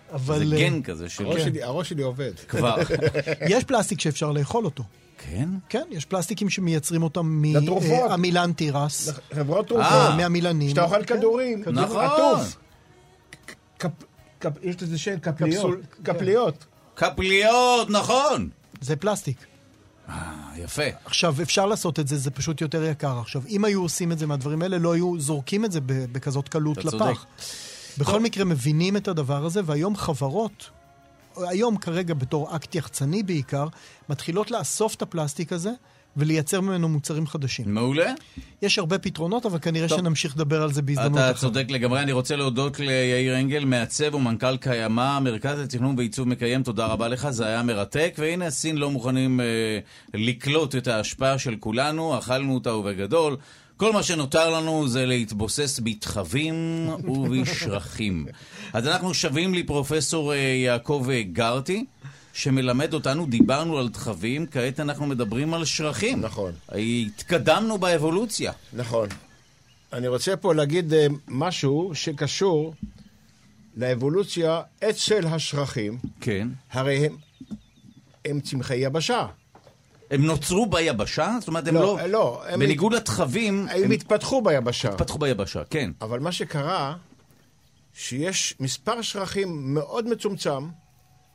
זה
אבל אה,
גן כזה של
הראש שלי- הראש שלי עובד.
כבר.
יש פלסטיק שאפשר לאכול אותו.
כן?
כן, יש פלסטיקים שמייצרים אותם
לתרופות.
מעמילן תירס,
חברות
אה.
תרופות.
מהמילנים. כן.
כשאתה אוכל כדורים,
נכון.
עטוף. קפ- קפ- יש לזה שם, קפליות.
קפסול- כן.
קפליות.
קפליות, נכון!
זה פלסטיק.
אה, יפה.
עכשיו, אפשר לעשות את זה, זה פשוט יותר יקר. עכשיו, אם היו עושים את זה מהדברים האלה, לא היו זורקים את זה ב- בכזאת קלות
אתה
לפח.
צודק.
בכל מקרה, מבינים את הדבר הזה, והיום חברות, היום כרגע בתור אקט יחצני בעיקר, מתחילות לאסוף את הפלסטיק הזה ולייצר ממנו מוצרים חדשים.
מעולה.
יש הרבה פתרונות, אבל כנראה
טוב.
שנמשיך לדבר על זה בהזדמנות
אתה
אחרת.
צודק לגמרי. אני רוצה להודות ליאיר אנגל, מעצב ומנכ"ל קיימא, מרכז לתכנון ועיצוב מקיים. תודה רבה לך, זה היה מרתק. והנה, סין לא מוכנים אה, לקלוט את ההשפעה של כולנו, אכלנו אותה ובגדול. כל מה שנותר לנו זה להתבוסס בתחבים ובשרחים. אז אנחנו שבים לפרופסור אה, יעקב אה, גרטי, שמלמד אותנו, דיברנו על תחבים, כעת אנחנו מדברים על שרחים.
נכון.
התקדמנו באבולוציה.
נכון. אני רוצה פה להגיד אה, משהו שקשור לאבולוציה אצל השרחים,
כן.
הרי הם, הם צמחי יבשה.
הם נוצרו ביבשה? זאת אומרת, הם
לא,
לא...
לא, הם-
בניגוד לתחבים,
הם
הם
התפתחו ביבשה.
פתחו ביבשה, כן.
אבל מה שקרה, שיש מספר שרחים מאוד מצומצם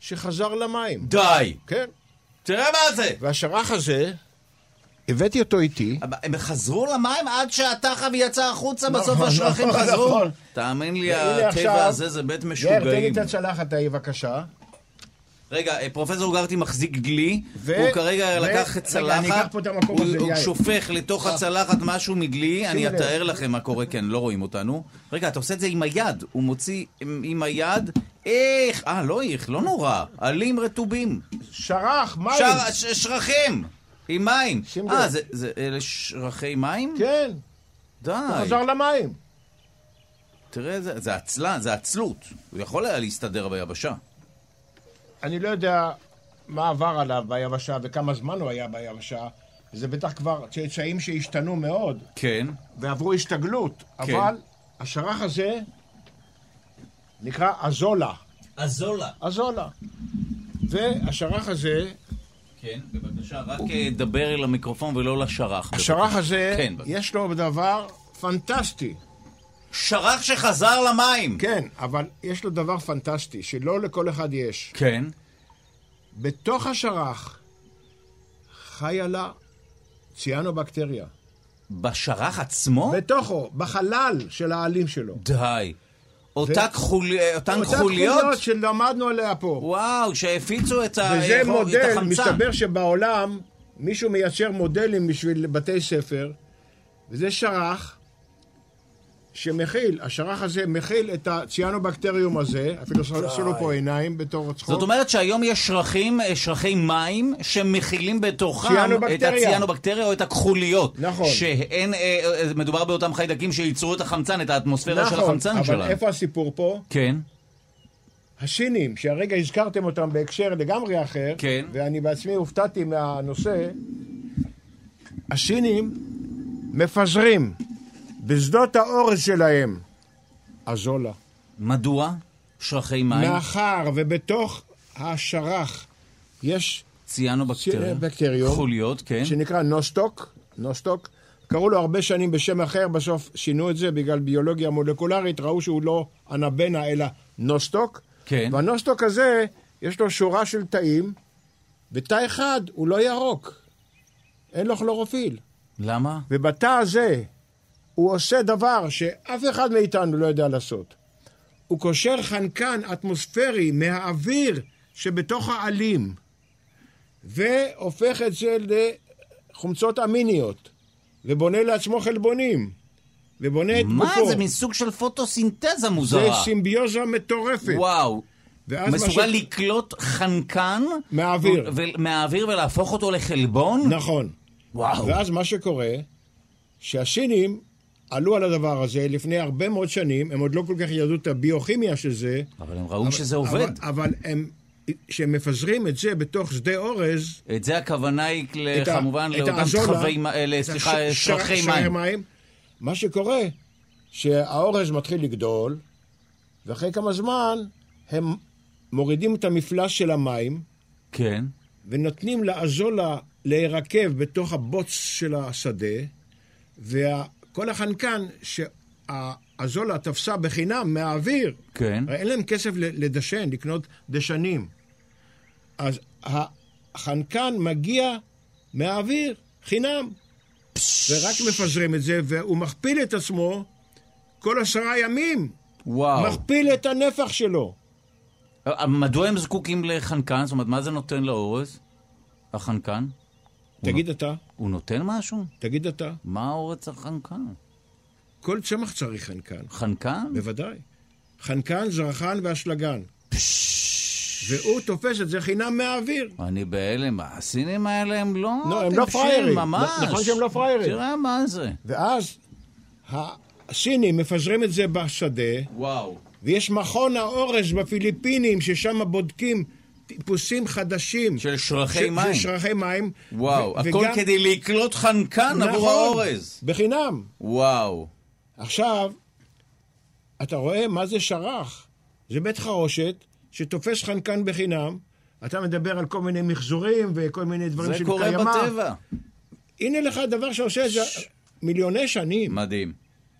שחזר למים.
די!
כן.
תראה מה זה!
והשרח הזה, הבאתי אותו איתי.
אבל הם חזרו למים עד שהתחב יצא החוצה, בסוף
נכון,
השרחים
נכון,
חזרו.
נכון.
תאמין לי,
והנה
הטבע
עכשיו-
הזה זה בית
יאיר, תן לי
משוגעים.
את הצלחת ההיא בבקשה.
רגע, אה, פרופסור גרטי מחזיק דלי,
ו-
הוא כרגע
ו-
לקח
רגע, אני אקח
צלחת,
פה את המקום
הוא-
הזה,
הוא
יאיר.
שופך לתוך הצלחת משהו מדלי, אני
לב.
אתאר לכם מה קורה, כן, לא רואים אותנו. רגע, אתה עושה את זה עם היד, הוא מוציא עם עם היד, איך, אה, לא איך, לא נורא, עלים רטובים.
שרח, מים.
שר- ש- שרחים! עם מים.
שים
אה,
לב.
זה- זה אלה שרחי מים?
כן,
די.
הוא חזר למים.
תראה, זה- זה עצלן, זה עצלות. הוא יכול היה להסתדר ביבשה.
אני לא יודע מה עבר עליו ביבשה וכמה זמן הוא היה ביבשה. זה בטח כבר צאצאים שהשתנו מאוד
כן.
ועברו השתגלות. אבל השרח הזה נקרא אזולה.
אזולה.
אזולה. והשרח הזה,
כן, בבקשה, רק אה, דבר אל המיקרופון ולא לשרח.
השרח הזה,
כן.
יש לו דבר פנטסטי.
שרח שחזר למים!
כן, אבל יש לו דבר פנטסטי, שלא לכל אחד יש.
כן.
בתוך השרח חיה לה ציאנובקטריה.
בשרח עצמו?
בתוכו, בחלל של העלים שלו.
די. אותה כחול- אה, אותן
אותן
כחוליות?
שלמדנו עליה פה.
וואו, שהפיצו את ה- אה,
וזה
את
מודל,
החמצן.
מסתבר שבעולם מישהו מייצר מודלים בשביל בתי ספר, וזה שרח שמכיל, השרח הזה מכיל את הציאנובקטריום הזה, אפילו עשו לו פה עיניים בתור צחוק.
זאת אומרת שהיום יש שרחים, אה, שרחי מים, שמכילים בתוכם את
ציאנובקטריה.
הציאנובקטריה או את הכחוליות.
נכון.
שהן, אה, אה, מדובר באותם חיידקים שייצרו את החמצן, את האטמוספירה של
נכון,
החמצן שלנו.
אבל איפה הסיפור פה?
כן.
השינים, שהרגע הזכרתם אותם בהקשר לגמרי אחר,
כן.
ואני בעצמי הופתעתי מהנושא, השינים מפזרים בשדות האורז שלהם אזולה.
מדוע? שרחי מים.
מאחר ובתוך השרח יש
ציאנו-בקטריה.
בקטריום.
חוליות, כן.
שנקרא נוסטוק, נוסטוק. קראו לו הרבה שנים בשם אחר, בסוף שינו את זה בגלל ביולוגיה מולקולרית, ראו שהוא לא אנבנה אלא נוסטוק.
כן.
והנוסטוק הזה, יש לו שורה של תאים, ותא אחד הוא לא ירוק, אין לו כלורופיל.
למה?
ובתא הזה הוא עושה דבר שאף אחד מאיתנו לא יודע לעשות. הוא קושר חנקן אטמוספרי מהאוויר שבתוך העלים, והופך את זה לחומצות אמיניות, ובונה לעצמו חלבונים, ובונה את
מה?
גופו.
זה מין סוג של פוטוסינתזה
זה
מוזרה.
סימביוזה מטורפת.
וואו.
ואז מה
מסוגל
ש-
לקלוט חנקן
מהאוויר.
ו- מהאוויר ולהפוך אותו לחלבון?
נכון.
וואו.
ואז מה שקורה, שהסינים עלו על הדבר הזה לפני הרבה מאוד שנים, הם עוד לא כל כך ידעו את הביוכימיה של זה.
אבל הם ראו שזה עובד.
אבל, אבל הם, כשהם מפזרים את זה בתוך שדה אורז,
את זה הכוונה היא ל-
את ה-
אה, כמובן
את
לאותם
האזולה,
תחבי מ- אה, ל-
את
סליחה,
הש- ש-
שרחי
שער
מים.
מה שקורה, שהאורז מתחיל לגדול, ואחרי כמה זמן הם מורידים את המפלס של המים,
כן.
ונותנים לאזולה להירקב בתוך הבוץ של השדה, וכל החנקן שהאזולה תפסה בחינם מהאוויר,
כן.
הרי אין להם כסף ל- לדשן, לקנות דשנים. אז החנקן מגיע מהאוויר, חינם. ורק מפזרים את זה, והוא מכפיל את עצמו כל עשרה ימים.
וואו.
מכפיל את הנפח שלו.
אה, מדוע הם זקוקים לחנקן? זאת אומרת, מה זה נותן לאורז? החנקן?
תגיד אתה,
הוא נותן משהו?
תגיד אתה.
מה האורז החנקן?
כל צמח צריך חנקן.
חנקן?
בוודאי. חנקן, זרחן ואשלגן. והוא תופס את זה חינם מהאוויר.
אני בהלם, הסינים האלה הם לא...
לא, הם
טיפשים,
לא פראיירים.
ממש.
נ- נכון שהם לא פראיירים.
תראה מה זה.
ואז הסינים מפזרים את זה בשדה,
וואו.
ויש מכון האורז בפיליפינים, ששם בודקים טיפוסים חדשים.
של
ש-
שרחי
של
מים.
שרחי מים.
וואו,
ו-
הכל
וגם-
כדי לקלוט חנקן עבור
נכון,
האורז.
בחינם.
וואו.
עכשיו, אתה רואה מה זה שרח. זה בית חרושת שתופס חנקן בחינם. אתה מדבר על כל מיני מחזורים וכל מיני דברים
זה
של
קורה
קיימא.
בטבע.
הנה לך דבר שעושה את זה מיליוני שנים.
מדהים.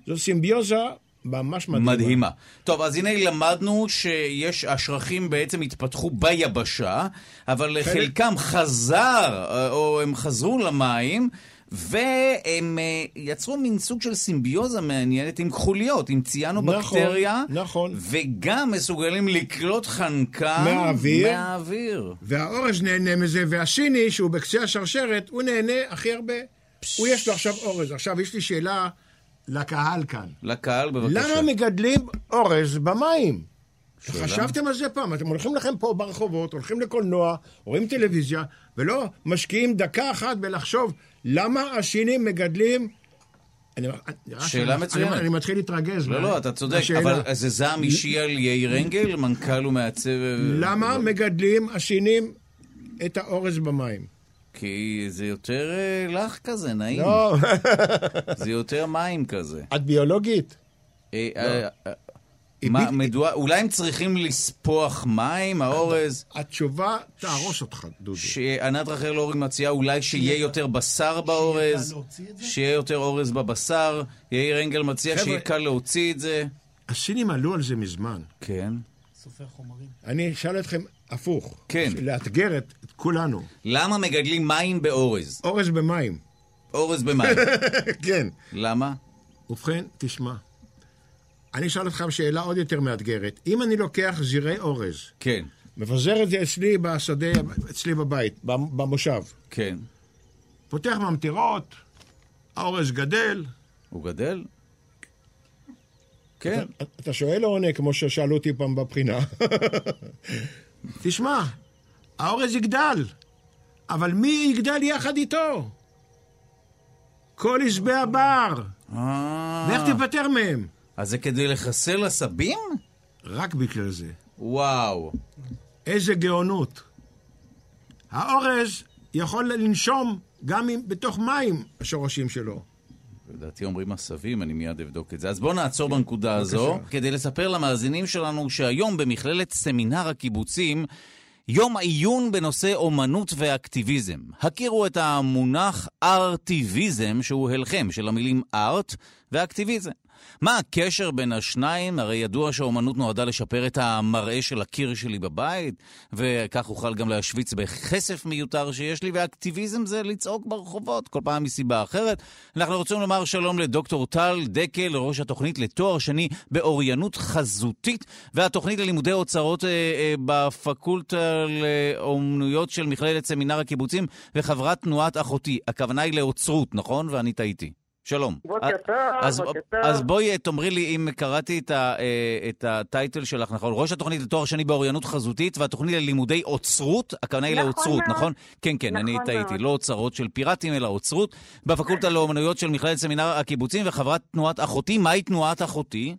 זו סימביוזה ממש מדהימה.
מדהימה. טוב, אז הנה למדנו שיש, השרחים בעצם התפתחו ביבשה, אבל
חלק-
חלקם חזר, אה, או הם חזרו למים, והם אה, יצרו מין סוג של סימביוזה מעניינת עם כחוליות, עם ציאנו-בקטריה,
נכון, נכון.
וגם מסוגלים לקלוט חנקן
מהאוויר.
מהאוויר.
והאורז נהנה מזה, והסיני, שהוא בקצה השרשרת, הוא נהנה הכי הרבה. הוא יש לו עכשיו אורז. עכשיו, יש לי שאלה לקהל כאן.
לקהל, בבקשה.
למה מגדלים אורז במים? חשבתם על זה פעם? אתם הולכים לכם פה ברחובות, הולכים לקולנוע, רואים טלוויזיה, ולא משקיעים דקה אחת בלחשוב למה הסינים מגדלים... אני- אני-
שאלה
אני-
מצוינת.
אני מתחיל להתרגז.
לא,
מה-
לא, אתה צודק,
מהשאלה.
אבל זה זעם אישי על יאיר רנגל, מנכ"ל ומעצב...
למה מגדלים הסינים את האורז במים?
כי זה יותר אה, לך כזה, נעים.
לא,
זה יותר מים כזה.
את ביולוגית?
אה, אה, אה, מה, מדוע, אולי הם צריכים לספוח מים, האורז,
התשובה תהרוס אותך, דודו.
שענת רחל אורן מציעה אולי שיהיה יותר בשר באורז,
להוציא את זה?
שיהיה יותר אורז בבשר, יאיר אנגל מציע
חבר'ה-
שיהיה קל להוציא את זה.
הסינים עלו על זה מזמן.
כן.
סופר חומרים.
אני אשאל אתכם הפוך.
כן.
לאתגר את את כולנו.
למה מגדלים מים באורז?
אורז במים.
אורז במים.
כן.
למה?
ובכן, תשמע, אני אשאל אותך שאלה עוד יותר מאתגרת. אם אני לוקח זירי אורז,
כן,
מבזר את זה אצלי בשדה, אצלי בבית, במושב,
כן.
פותח ממטרות, האורז גדל.
הוא גדל? כן.
אתה שואל או עונה, כמו ששאלו אותי פעם בבחינה? תשמע, האורז יגדל, אבל מי יגדל יחד איתו? כל עשבי הבר.
אה,
ואיך תיפטר מהם?
אז זה כדי לחסל עשבים?
רק בגלל זה.
וואו.
איזה גאונות. האורז יכול לנשום גם אם בתוך מים השורשים שלו.
לדעתי אומרים עשבים, אני מיד אבדוק את זה. אז בואו נעצור בנקודה הזו, כדי לספר למאזינים שלנו שהיום במכללת סמינר הקיבוצים יום עיון בנושא אומנות ואקטיביזם. הכירו את המונח ארטיביזם, שהוא הלחם של המילים ארט ואקטיביזם. מה הקשר בין השניים? הרי ידוע שהאומנות נועדה לשפר את המראה של הקיר שלי בבית, וכך אוכל גם להשוויץ בכסף מיותר שיש לי, ואקטיביזם זה לצעוק ברחובות, כל פעם מסיבה אחרת. אנחנו רוצים לומר שלום לדוקטור טל דקל, ראש התוכנית לתואר שני באוריינות חזותית, והתוכנית ללימודי אוצרות אה, אה, בפקולטה לאומנויות של מכללת סמינר הקיבוצים, וחברת תנועת אחותי. הכוונה היא לאוצרות, נכון? ואני טעיתי. שלום.
בוקר טוב,
אה, אז,
בוקר טוב.
אז בואי אה, תאמרי לי אם קראתי את, ה, אה, את הטייטל שלך נכון. ראש התוכנית לתואר שני באוריינות חזותית והתוכנית ללימודי אוצרות, הכוונה היא
נכון
לאוצרות,
מאוד.
נכון? כן, כן, אני
נכון
טעיתי.
מאוד.
לא אוצרות של פיראטים, אלא אוצרות. בפקולטה לאומנויות של מכללת סמינר הקיבוצים וחברת תנועת אחותי. מהי תנועת אחותי?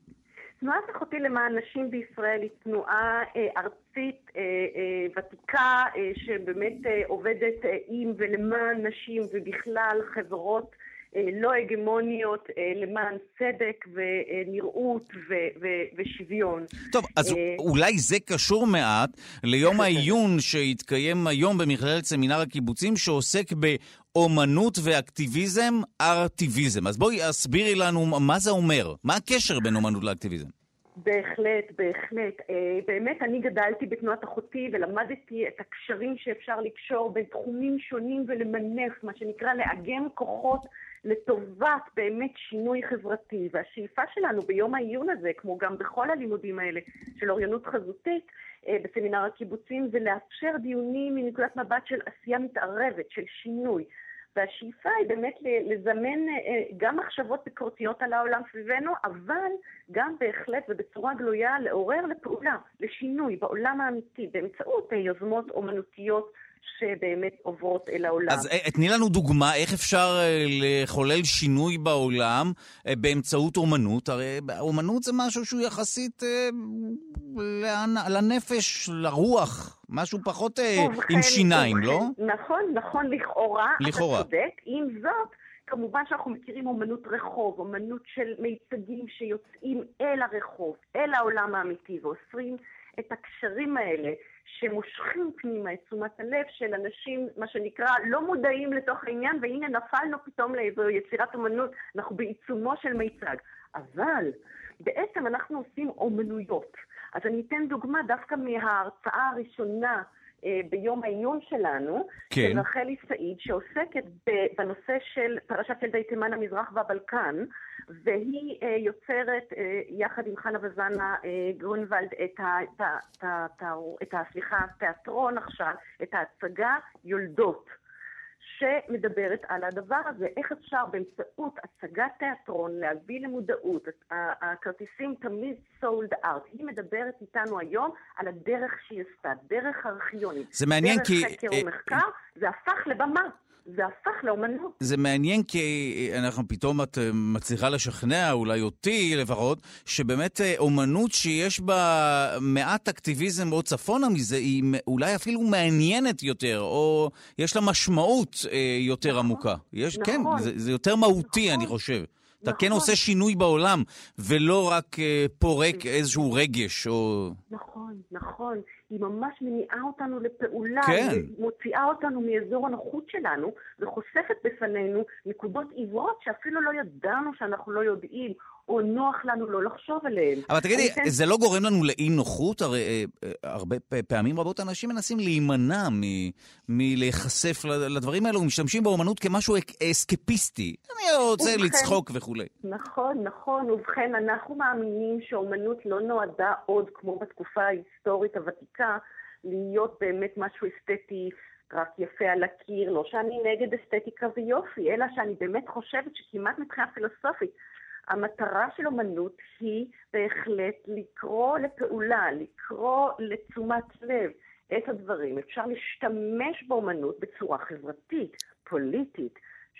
תנועת אחותי למען נשים בישראל היא תנועה אה, ארצית אה, אה, ותיקה אה, שבאמת אה, עובדת אה, עם ולמען נשים ובכלל חברות אה, לא הגמוניות אה, למען צדק ונראות ו- ו- ושוויון.
טוב, אז
אה,
אולי זה קשור מעט ליום העיון שהתקיים היום במכללת סמינר הקיבוצים, שעוסק באומנות ואקטיביזם, ארטיביזם. אז בואי הסבירי לנו מה זה אומר, מה הקשר בין אומנות לאקטיביזם.
בהחלט, בהחלט. אה, באמת, אני גדלתי בתנועת אחותי ולמדתי את הקשרים שאפשר לקשור בין תחומים שונים ולמנף, מה שנקרא לאגם כוחות לטובת באמת שינוי חברתי. והשאיפה שלנו ביום העיון הזה, כמו גם בכל הלימודים האלה של אוריינות חזותית אה, בסמינר הקיבוצים, זה לאפשר דיונים מנקודת מבט של עשייה מתערבת, של שינוי. והשאיפה היא באמת ל- לזמן אה, גם מחשבות ביקורתיות על העולם סביבנו, אבל גם בהחלט ובצורה גלויה לעורר לפעולה, לשינוי בעולם האמיתי, באמצעות אה, יוזמות אומנותיות שבאמת עוברות אל העולם.
אז אה, תני לנו דוגמה איך אפשר אה, לחולל שינוי בעולם אה, באמצעות אומנות. הרי אומנות זה משהו שהוא יחסית אה, לאנ- לנפש, לרוח, משהו פחות אה,
ובכן,
עם שיניים, לא?
ובכן, נכון, נכון, לכאורה.
לכאורה.
אתה צודק. עם זאת, כמובן שאנחנו מכירים אומנות רחוב, אומנות של מיצגים שיוצאים אל הרחוב, אל העולם האמיתי, ואוסרים את הקשרים האלה. שמושכים פנימה את תשומת הלב של אנשים, מה שנקרא, לא מודעים לתוך העניין, והנה נפלנו פתאום לאיזו יצירת אומנות, אנחנו בעיצומו של מיצג. אבל בעצם אנחנו עושים אומנויות. אז אני אתן דוגמה דווקא מההרצאה הראשונה אה, ביום העיון שלנו,
כן.
של רחלי סעיד, שעוסקת ב- בנושא של פרשת ילדי תימן, המזרח והבלקן, והיא אה, יוצרת אה, יחד עם חנה וזנה אה, גרונוולד את, ה, את, ה, את, ה, את, ה, את ה... סליחה, התיאטרון עכשיו, את ההצגה יולדות. שמדברת על הדבר הזה, איך אפשר באמצעות הצגת תיאטרון להביא למודעות, ה- הכרטיסים תמיד סולד אאוט, היא מדברת איתנו היום על הדרך שהיא עשתה, דרך ארכיונית,
זה מעניין
דרך
כי-
חקר
אה,
ומחקר, זה הפך לבמה, זה הפך לאומנות.
זה מעניין כי אנחנו פתאום את אה, מצליחה לשכנע, אולי אותי לפחות, שבאמת אה, אומנות שיש בה מעט אקטיביזם או צפונה מזה, היא מ- אולי אפילו מעניינת יותר, או יש לה משמעות אה, יותר עמוקה. יש,
נכון.
כן, זה, זה יותר מהותי, אני חושב. אתה כן
נכון.
עושה שינוי בעולם, ולא רק אה, פורק
אוקיי.
איזשהו רגש, או...
נכון, נכון. היא ממש מניעה אותנו לפעולה.
כן.
היא מוציאה אותנו מאזור הנוחות שלנו, וחושפת בפנינו נקודות עיוורות שאפילו לא ידענו שאנחנו לא יודעים, או נוח לנו לא לחשוב עליהן.
אבל תגידי,
אני כן- אתן-
זה לא גורם לנו לאי נוחות? הרי אה, אה, הרבה פ- פעמים רבות אנשים מנסים להימנע מ- מלהיחשף ל- לדברים האלו, ומשתמשים באומנות כמשהו אק- אסקפיסטי. אני לא רוצה
ובכן-
לצחוק וכולי.
נכון, נכון. ובכן, אנחנו מאמינים שאומנות לא נועדה עוד, כמו בתקופה ההיסטורית הוותיקה, להיות באמת משהו אסתטי, רק יפה על הקיר. לא שאני נגד אסתטיקה ויופי, אלא שאני באמת חושבת שכמעט מבחינה פילוסופית, המטרה של אומנות היא בהחלט לקרוא לפעולה, לקרוא לתשומת לב את הדברים. אפשר להשתמש באומנות בצורה חברתית, פוליטית.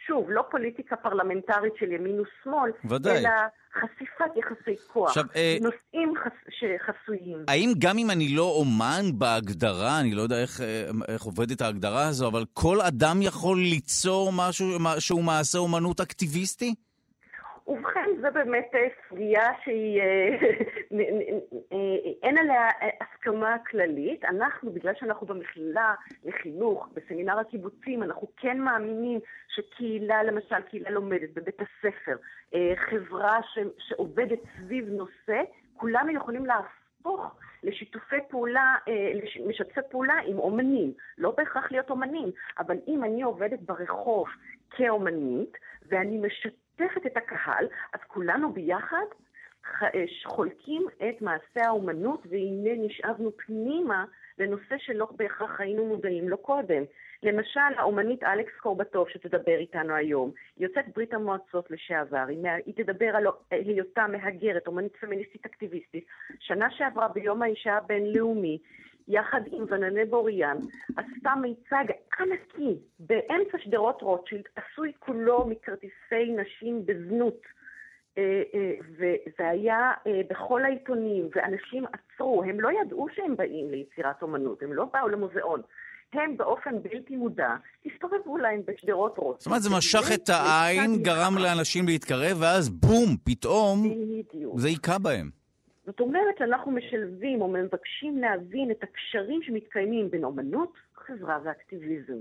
שוב, לא פוליטיקה פרלמנטרית של ימין ושמאל,
ודאי.
אלא חשיפת יחסי כוח,
עכשיו, אה,
נושאים חס... שחסויים.
האם גם אם אני לא אומן בהגדרה, אני לא יודע איך, אה, איך עובדת ההגדרה הזו, אבל כל אדם יכול ליצור משהו מה- שהוא מעשה אומנות אקטיביסטי?
ובכן, זה באמת אה, סוגיה שהיא, אה, נ- נ- אה, אין עליה אה, הסכמה כללית. אנחנו, בגלל שאנחנו במכללה לחינוך, בסמינר הקיבוצים, אנחנו כן מאמינים שקהילה, למשל, קהילה לומדת בבית הספר, אה, חברה ש- שעובדת סביב נושא, כולנו יכולים להפוך לשיתופי פעולה, אה, לש- משתפי פעולה עם אומנים. לא בהכרח להיות אומנים, אבל אם אני עובדת ברחוב כאומנית, ואני משתפת את הקהל, אז כולנו ביחד ח- אה, חולקים את מעשה האומנות, והנה נשאבנו פנימה לנושא שלא בהכרח היינו מודעים לו קודם. למשל, האומנית אלכס קורבטוב, שתדבר איתנו היום, היא יוצאת ברית המועצות לשעבר, היא, מה- היא תדבר על היותה מהגרת, אומנית פמיניסטית אקטיביסטית. שנה שעברה ביום האישה הבינלאומי, יחד עם וננה בוריאן, עשתה מיצג ענקי באמצע שדרות רוטשילד, עשוי כולו מכרטיסי נשים בזנות. אה, אה, וזה היה אה, בכל העיתונים, ואנשים עצרו, הם לא ידעו שהם באים ליצירת אומנות, הם לא באו למוזיאון. הם באופן בלתי מודע הסתובבו להם בשדרות רוטשילד.
זאת אומרת, זה משך את העין, גרם לאנשים להתקרב, ואז בום, פתאום
בדיוק.
זה היכה בהם.
זאת אומרת שאנחנו משלבים או מבקשים להבין את הקשרים שמתקיימים בין אומנות, חברה ואקטיביזם,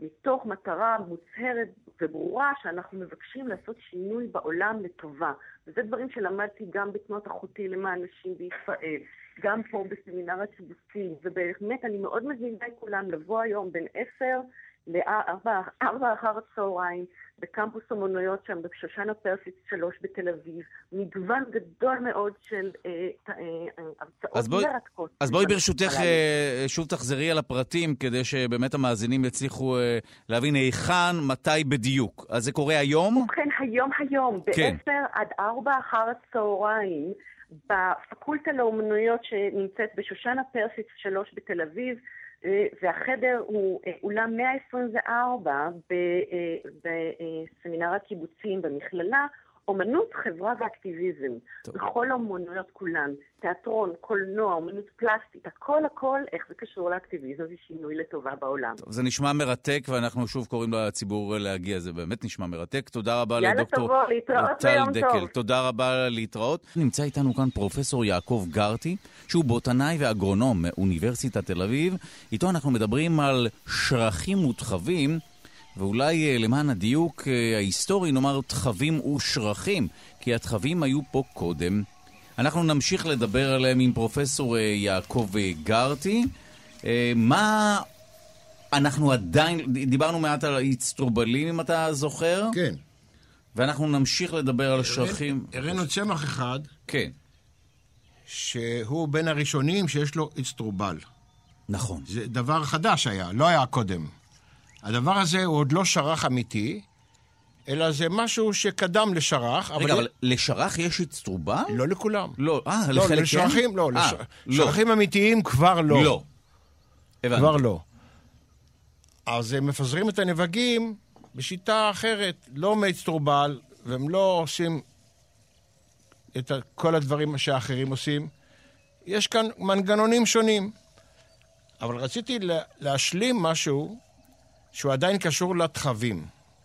מתוך מטרה מוצהרת וברורה שאנחנו מבקשים לעשות שינוי בעולם לטובה. וזה דברים שלמדתי גם בתנועת אחותי למען נשים בישראל, גם פה בסמינר הקיבוצים, ובאמת אני מאוד מזמינה את כולם לבוא היום בין עשר לארבע ארבע אחר הצהריים בקמפוס אומנויות שם בשושנה פרסיס 3 בתל אביב, מגוון גדול מאוד של אה, ת- אה, אה,
אז
הרצאות
בואי-
מרתקות.
אז בואי
של
ברשותך
הנשים
אה, שוב תחזרי על הפרטים, כדי שבאמת המאזינים יצליחו אה, להבין היכן, מתי בדיוק. אז זה קורה היום?
ובכן, היום היום,
כן.
ב-10 עד 4 אחר הצהריים, בפקולטה לאומנויות שנמצאת בשושנה פרסיס 3 בתל אביב, אה, והחדר הוא אה, אולם 124 ב- אה, בסמינר הקיבוצים במכללה, אומנות, חברה ואקטיביזם.
טוב.
בכל האומנויות כולן, תיאטרון, קולנוע, אומנות פלסטית, הכל הכל, איך זה קשור לאקטיביזם ושינוי לטובה בעולם.
טוב, זה נשמע מרתק, ואנחנו שוב קוראים לציבור להגיע, זה באמת נשמע מרתק. תודה רבה
יאללה,
לדוקטור
תבוא, להתראות
טל
ויום
דקל.
טוב.
תודה רבה, להתראות. נמצא איתנו כאן פרופסור יעקב גרטי, שהוא בוטנאי ואגרונום מאוניברסיטת תל אביב. איתו אנחנו מדברים על שרחים ותחבים, ואולי אה, למען הדיוק אה, ההיסטורי נאמר תחבים ושרחים, כי התחבים היו פה קודם. אנחנו נמשיך לדבר עליהם עם פרופסור אה, יעקב אה, גרטי. אה, מה אנחנו עדיין, דיברנו מעט על האיצטרובלים, אם אתה זוכר,
כן.
ואנחנו נמשיך לדבר על השרחים.
הראינו צמח אחד,
כן,
שהוא בין הראשונים שיש לו אצטרובל.
נכון.
זה דבר חדש היה, לא היה קודם. הדבר הזה הוא עוד לא שרח אמיתי, אלא זה משהו שקדם לשרח, אבל...
רגע, אבל לשרח יש איצטרובל?
לא לכולם.
לא, אה,
לא,
לחלק כן?
לשרחים, לא,
אה,
לש-
לא.
שרחים אמיתיים כבר לא.
לא. הבנתי.
כבר לא. אז הם מפזרים את הנבגים בשיטה אחרת, לא מאצטרובל, והם לא עושים את ה- כל הדברים שהאחרים עושים. יש כאן מנגנונים שונים. אבל רציתי לה- להשלים משהו שהוא עדיין קשור לתחבים.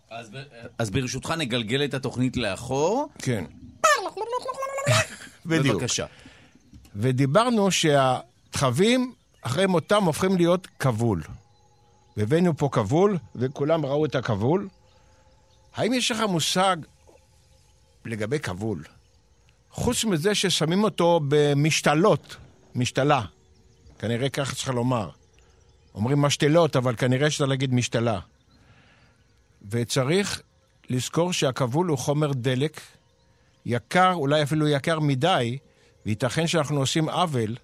אז ב- אז ברשותך נגלגל את התוכנית לאחור.
כן. בדיוק.
בבקשה.
ודיברנו שהתחבים אחרי מותם הופכים להיות כבול. והבאנו פה כבול, וכולם ראו את הכבול. האם יש לך מושג לגבי כבול? חוץ מזה ששמים אותו במשתלות, משתלה, כנראה ככה צריך לומר. אומרים משתלות, אבל כנראה שצריך להגיד משתלה. וצריך לזכור שהכבול הוא חומר דלק יקר, אולי אפילו יקר מדי, וייתכן שאנחנו עושים עוול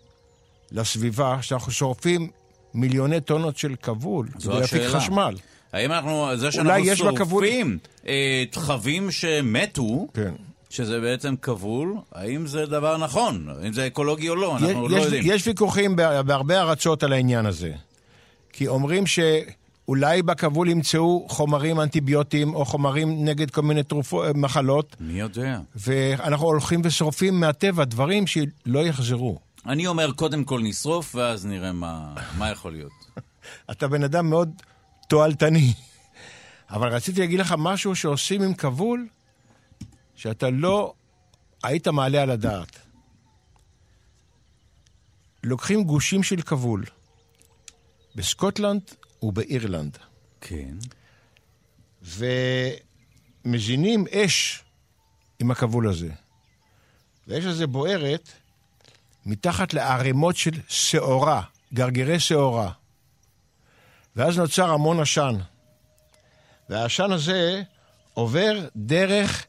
לסביבה, שאנחנו שורפים מיליוני טונות של כבול
זו
כדי להפיק
השאלה.
חשמל.
האם אנחנו, זה שאנחנו
יש לה כבול-
שורפים אה, תחבים שמתו,
כן.
שזה בעצם כבול, האם זה דבר נכון? האם זה אקולוגי או לא? אנחנו
יש,
לא
יש-
יודעים.
יש ויכוחים בה- בהרבה ארצות על העניין הזה. כי אומרים שאולי בכבול ימצאו חומרים אנטיביוטיים או חומרים נגד כל מיני תרופות, מחלות,
מי יודע?
ואנחנו הולכים ושורפים מהטבע דברים שלא יחזרו.
אני אומר, קודם כל נשרוף, ואז נראה מה, מה יכול להיות.
אתה בן אדם מאוד תועלתני. אבל רציתי להגיד לך משהו שעושים עם כבול, שאתה לא היית מעלה על הדעת. לוקחים גושים של כבול בסקוטלנד ובאירלנד,
כן.
ומזינים אש עם הכבול הזה. והאש הזה בוערת מתחת לערימות של שעורה, גרגירי שעורה. ואז נוצר המון עשן. והעשן הזה עובר דרך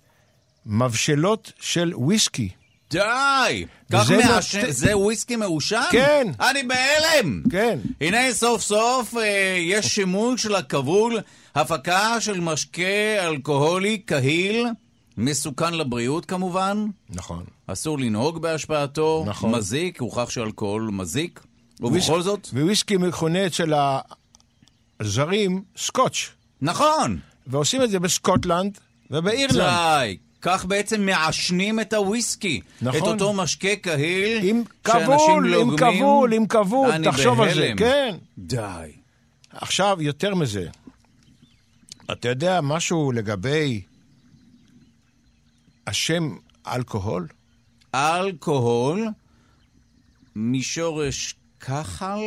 מבשלות של וויסקי.
די! כך
וזה
מעשן,
נות-
זה וויסקי מעושן?
כן.
אני בהלם!
כן.
הנה סוף סוף אה, יש שימוש לכבול, הפקה של משקה אלכוהולי קהיל, מסוכן לבריאות כמובן,
נכון.
אסור לנהוג בהשפעתו,
נכון.
מזיק, הוכח שאלכוהול מזיק, ובכל זאת,
וויסקי מכונה אצל הזרים סקוטש,
נכון!
ועושים את זה בסקוטלנד ובאירלנד.
די! כך בעצם מעשנים את הוויסקי.
נכון.
את אותו משקה קהיל
עם
שאנשים
כבול, עם
לוגמים.
כבול, עם כבול,
לא אני
תחשוב על זה,
בהלם.
כן.
די.
עכשיו, יותר מזה, אתה יודע משהו לגבי השם אלכוהול?
אלכוהול משורש כחל,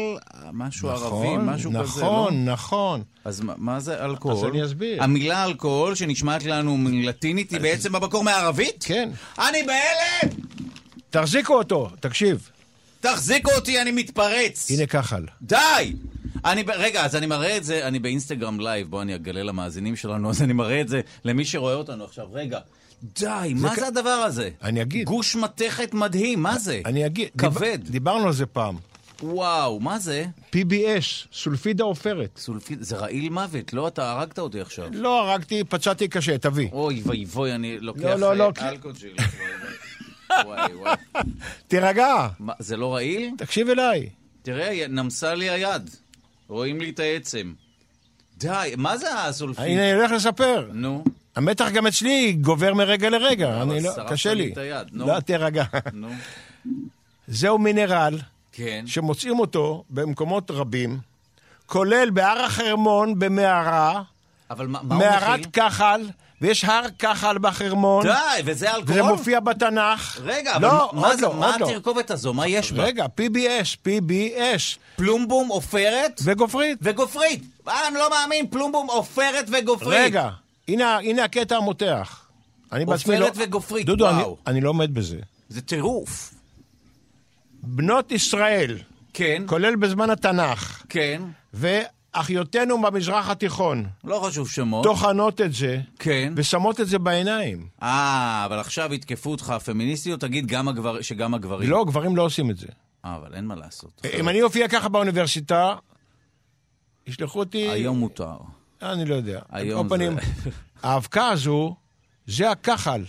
משהו ערבי, משהו
נכון,
כזה, לא?
נכון, נכון.
אז מה- מה זה אלכוהול?
אז אני אסביר.
המילה אלכוהול, שנשמעת לנו מלטינית, היא בעצם במקור מערבית?
כן.
אני בהלם!
תחזיקו אותו, תקשיב.
תחזיקו אותי, אני מתפרץ!
הנה כחל.
די! אני, ב- רגע, אז אני מראה את זה, אני באינסטגרם לייב, בואו אני אגלה למאזינים שלנו, אז אני מראה את זה למי שרואה אותנו עכשיו. רגע, די, מה זה הדבר הזה?
אני אגיד.
גוש מתכת מדהים, מה זה?
אני אגיד...
כבד.
דיב- דיברנו על זה פעם.
וואו, מה זה?
PBS, סולפידה עופרת.
סולפיד, זה רעיל מוות, לא? אתה הרגת אותי עכשיו.
לא הרגתי, פצעתי קשה, תביא.
אוי ואי ואי, אני לוקח
לא, לא, לא,
אה,
כי-
אלכוג'יל. וואי וואי.
תירגע,
מה, זה לא רעיל?
תקשיב אליי.
תראה, נמסה לי היד. רואים לי את העצם. די, מה זה הסולפיד?
הנה, אני הולך לספר.
נו,
המתח גם אצלי גובר מרגע לרגע, אני לא,
שרפת
קשה
לי
לי.
את היד, נו.
לא, תירגע.
נו.
זהו מינרל
כן.
שמוצאים אותו במקומות רבים, כולל בהר החרמון במערה,
אבל מה מה הוא
מערת
מכיל?
כחל, ויש הר כחל בחרמון,
די, וזה אלכוהול?
וזה מופיע בתנ"ך.
רגע, אבל
לא,
מה- מה
עוד
זה-
לא,
מה
עוד לא.
התרכובת הזו? מה יש בה?
רגע, PBS, PBS,
פלומבום, עופרת
וגופרית.
וגופרית. אה, אני לא מאמין, פלומבום, עופרת וגופרית.
רגע, הנה, הנה הקטע המותח. אני בעצמי לא...
עופרת וגופרית,
דודו, אני,
וואו.
אני לא עומד בזה.
זה טירוף.
בנות ישראל,
כן,
כולל בזמן התנ"ך,
כן,
ואחיותינו במזרח התיכון,
לא חשוב שמות.
טוחנות את זה,
כן.
ושמות את זה בעיניים.
אה, אבל עכשיו יתקפו אותך הפמיניסטיות, תגיד גם הגבר... שגם הגברים.
לא, גברים לא עושים את זה.
אה, אבל אין מה לעשות.
אם אני אופיע ככה באוניברסיטה, ישלחו אותי...
היום מותר.
אני לא יודע.
היום
על כל פנים,
זה-
האבקה הזו, זה הכחל.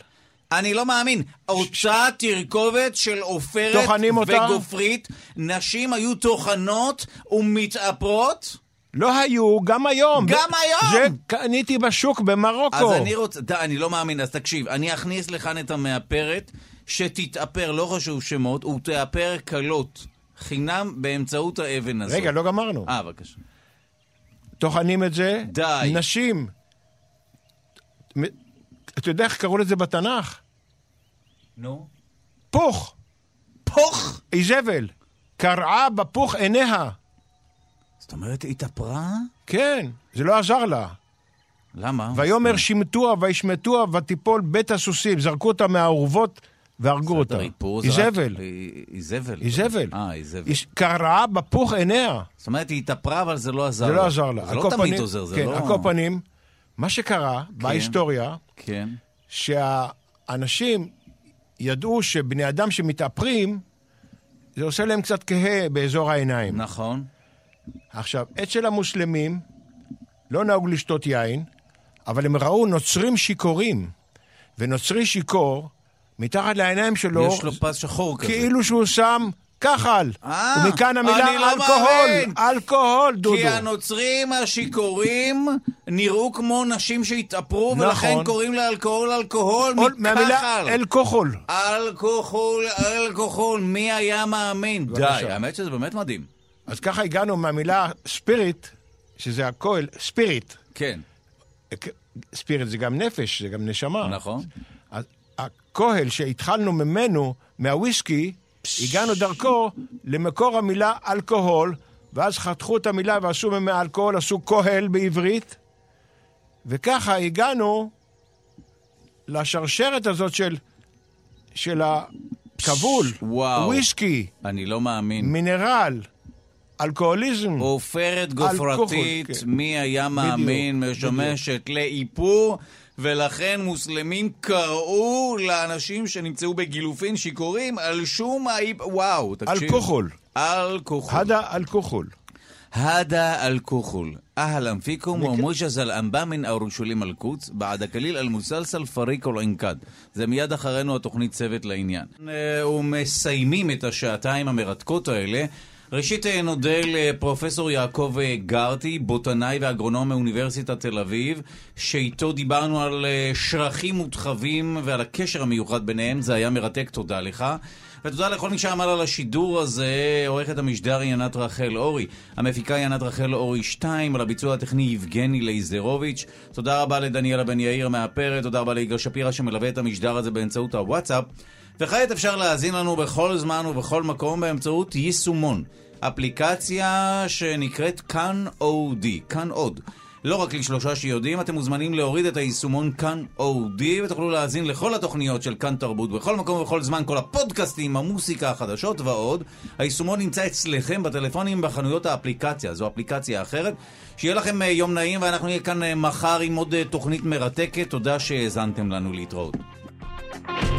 אני לא מאמין. אותה תרכובת של עופרת
טוחנים אותה?
וגופרית, נשים היו טוחנות ומתאפרות.
לא היו, גם היום.
גם
זה-
היום!
זה קניתי בשוק במרוקו.
אז אני רוצה, די, אני לא מאמין, אז תקשיב, אני אכניס לכאן את המאפרת, שתתאפר, לא חשוב שמות, ותאפר כלות, חינם באמצעות האבן הזאת.
רגע, לא גמרנו.
אה, בבקשה.
טוחנים את זה.
די.
נשים. מ- אתה יודע איך קראו לזה בתנ"ך?
נו.
פוך,
פוך!
איזבל. קרעה בפוך עיניה.
זאת אומרת, היא התאפרה?
כן, זה לא עזר לה.
למה?
ויאמר שימטוה וישמטוה ותיפול בית הסוסים. זרקו אותה מהאורוות והרגו אותה.
בסדר, איפור זה רק-
איזבל.
אי- איזבל.
איזבל.
אה, איזבל.
היא קרעה בפוך עיניה.
זאת אומרת, היא התאפרה, אבל זה לא עזר
זה
לה.
לא עזר לה.
זה
על
לא
כל
תמיד
פנים-
עוזר, זה
כן,
לא...
על כל פנים, מה שקרה בהיסטוריה,
כן.
שהאנשים ידעו שבני אדם שמתאפרים, זה עושה להם קצת כהה באזור העיניים.
נכון.
עכשיו, אצל המוסלמים לא נהוג לשתות יין, אבל הם ראו נוצרים שיכורים, ונוצרי שיכור, מתחת לעיניים שלו,
יש לו פס שחור כזה.
לא- כאילו שהוא שם כחל.
אה,
ומכאן המילה
אני לא
אלכוהול,
מאמין.
אלכוהול, דודו.
כי הנוצרים השיכורים נראו כמו נשים שהתאפרו,
נכון.
ולכן קוראים לאלכוהול אלכוהול
אול- מהמילה
מכחל.
אלכוהול.
אלכוהול, אלכוהול, מי היה מאמין? די,
בבקשה.
האמת שזה באמת מדהים.
אז ככה הגענו מהמילה ספיריט, שזה הכהל, אה, ספיריט.
כן,
ספיריט זה גם נפש, זה גם נשמה.
נכון.
אז הכהל שהתחלנו ממנו, מהוויסקי, הגענו דרכו למקור המילה אלכוהול, ואז חתכו את המילה ועשו מהאלכוהול, עשו כהל בעברית, וככה הגענו לשרשרת הזאת של, של הכבול,
וואו.
וויסקי,
אני לא מאמין.
מינרל, אלכוהוליזם.
עופרת
כן. אלכוהול,
גופרתית,
כן.
מי היה מאמין,
בדיוק,
משמשת לאיפור, ולכן מוסלמים קראו לאנשים שנמצאו בגילופין שיכורים על שום האיפ... וואו, תקשיב.
אלכוהול.
אלכוהול.
הדה אלכוהול.
هذا الكحول أهلا فيكم وموجز الأنباء من أورشليم القدس بعد قليل المسلسل فريق الإنقاذ זה מיד אחרינו התוכנית צוות לעניין. אה, ומסיימים את השעתיים המרתקות האלה. ראשית אה, נודה לפרופסור יעקב אה, גרטי, בוטנאי ואגרונום מאוניברסיטת תל אביב, שאיתו דיברנו על אה, שרחים ותחבים ועל הקשר המיוחד ביניהם, זה היה מרתק, תודה לך. ותודה לכל מי שעמל על השידור הזה, עורכת המשדר היא ענת רחל אורי, המפיקה היא ענת רחל אורי 2, על הביצוע הטכני יבגני לייזרוביץ', תודה רבה לדניאלה בן יאיר מהפרק, תודה רבה ליגאל שפירא שמלווה את המשדר הזה באמצעות הוואטסאפ, וכעת אפשר להאזין לנו בכל זמן ובכל מקום באמצעות יישומון, אפליקציה שנקראת כאן אודי, כאן עוד. לא רק לשלושה שיודעים, אתם מוזמנים להוריד את היישומון כאן אודי, ותוכלו להאזין לכל התוכניות של כאן תרבות בכל מקום ובכל זמן, כל הפודקאסטים, המוסיקה, החדשות ועוד. היישומון נמצא אצלכם בטלפונים, בחנויות האפליקציה, זו אפליקציה אחרת. שיהיה לכם אה, יום נעים, ואנחנו נהיה כאן אה, מחר עם עוד אה, תוכנית מרתקת. תודה שהאזנתם לנו להתראות.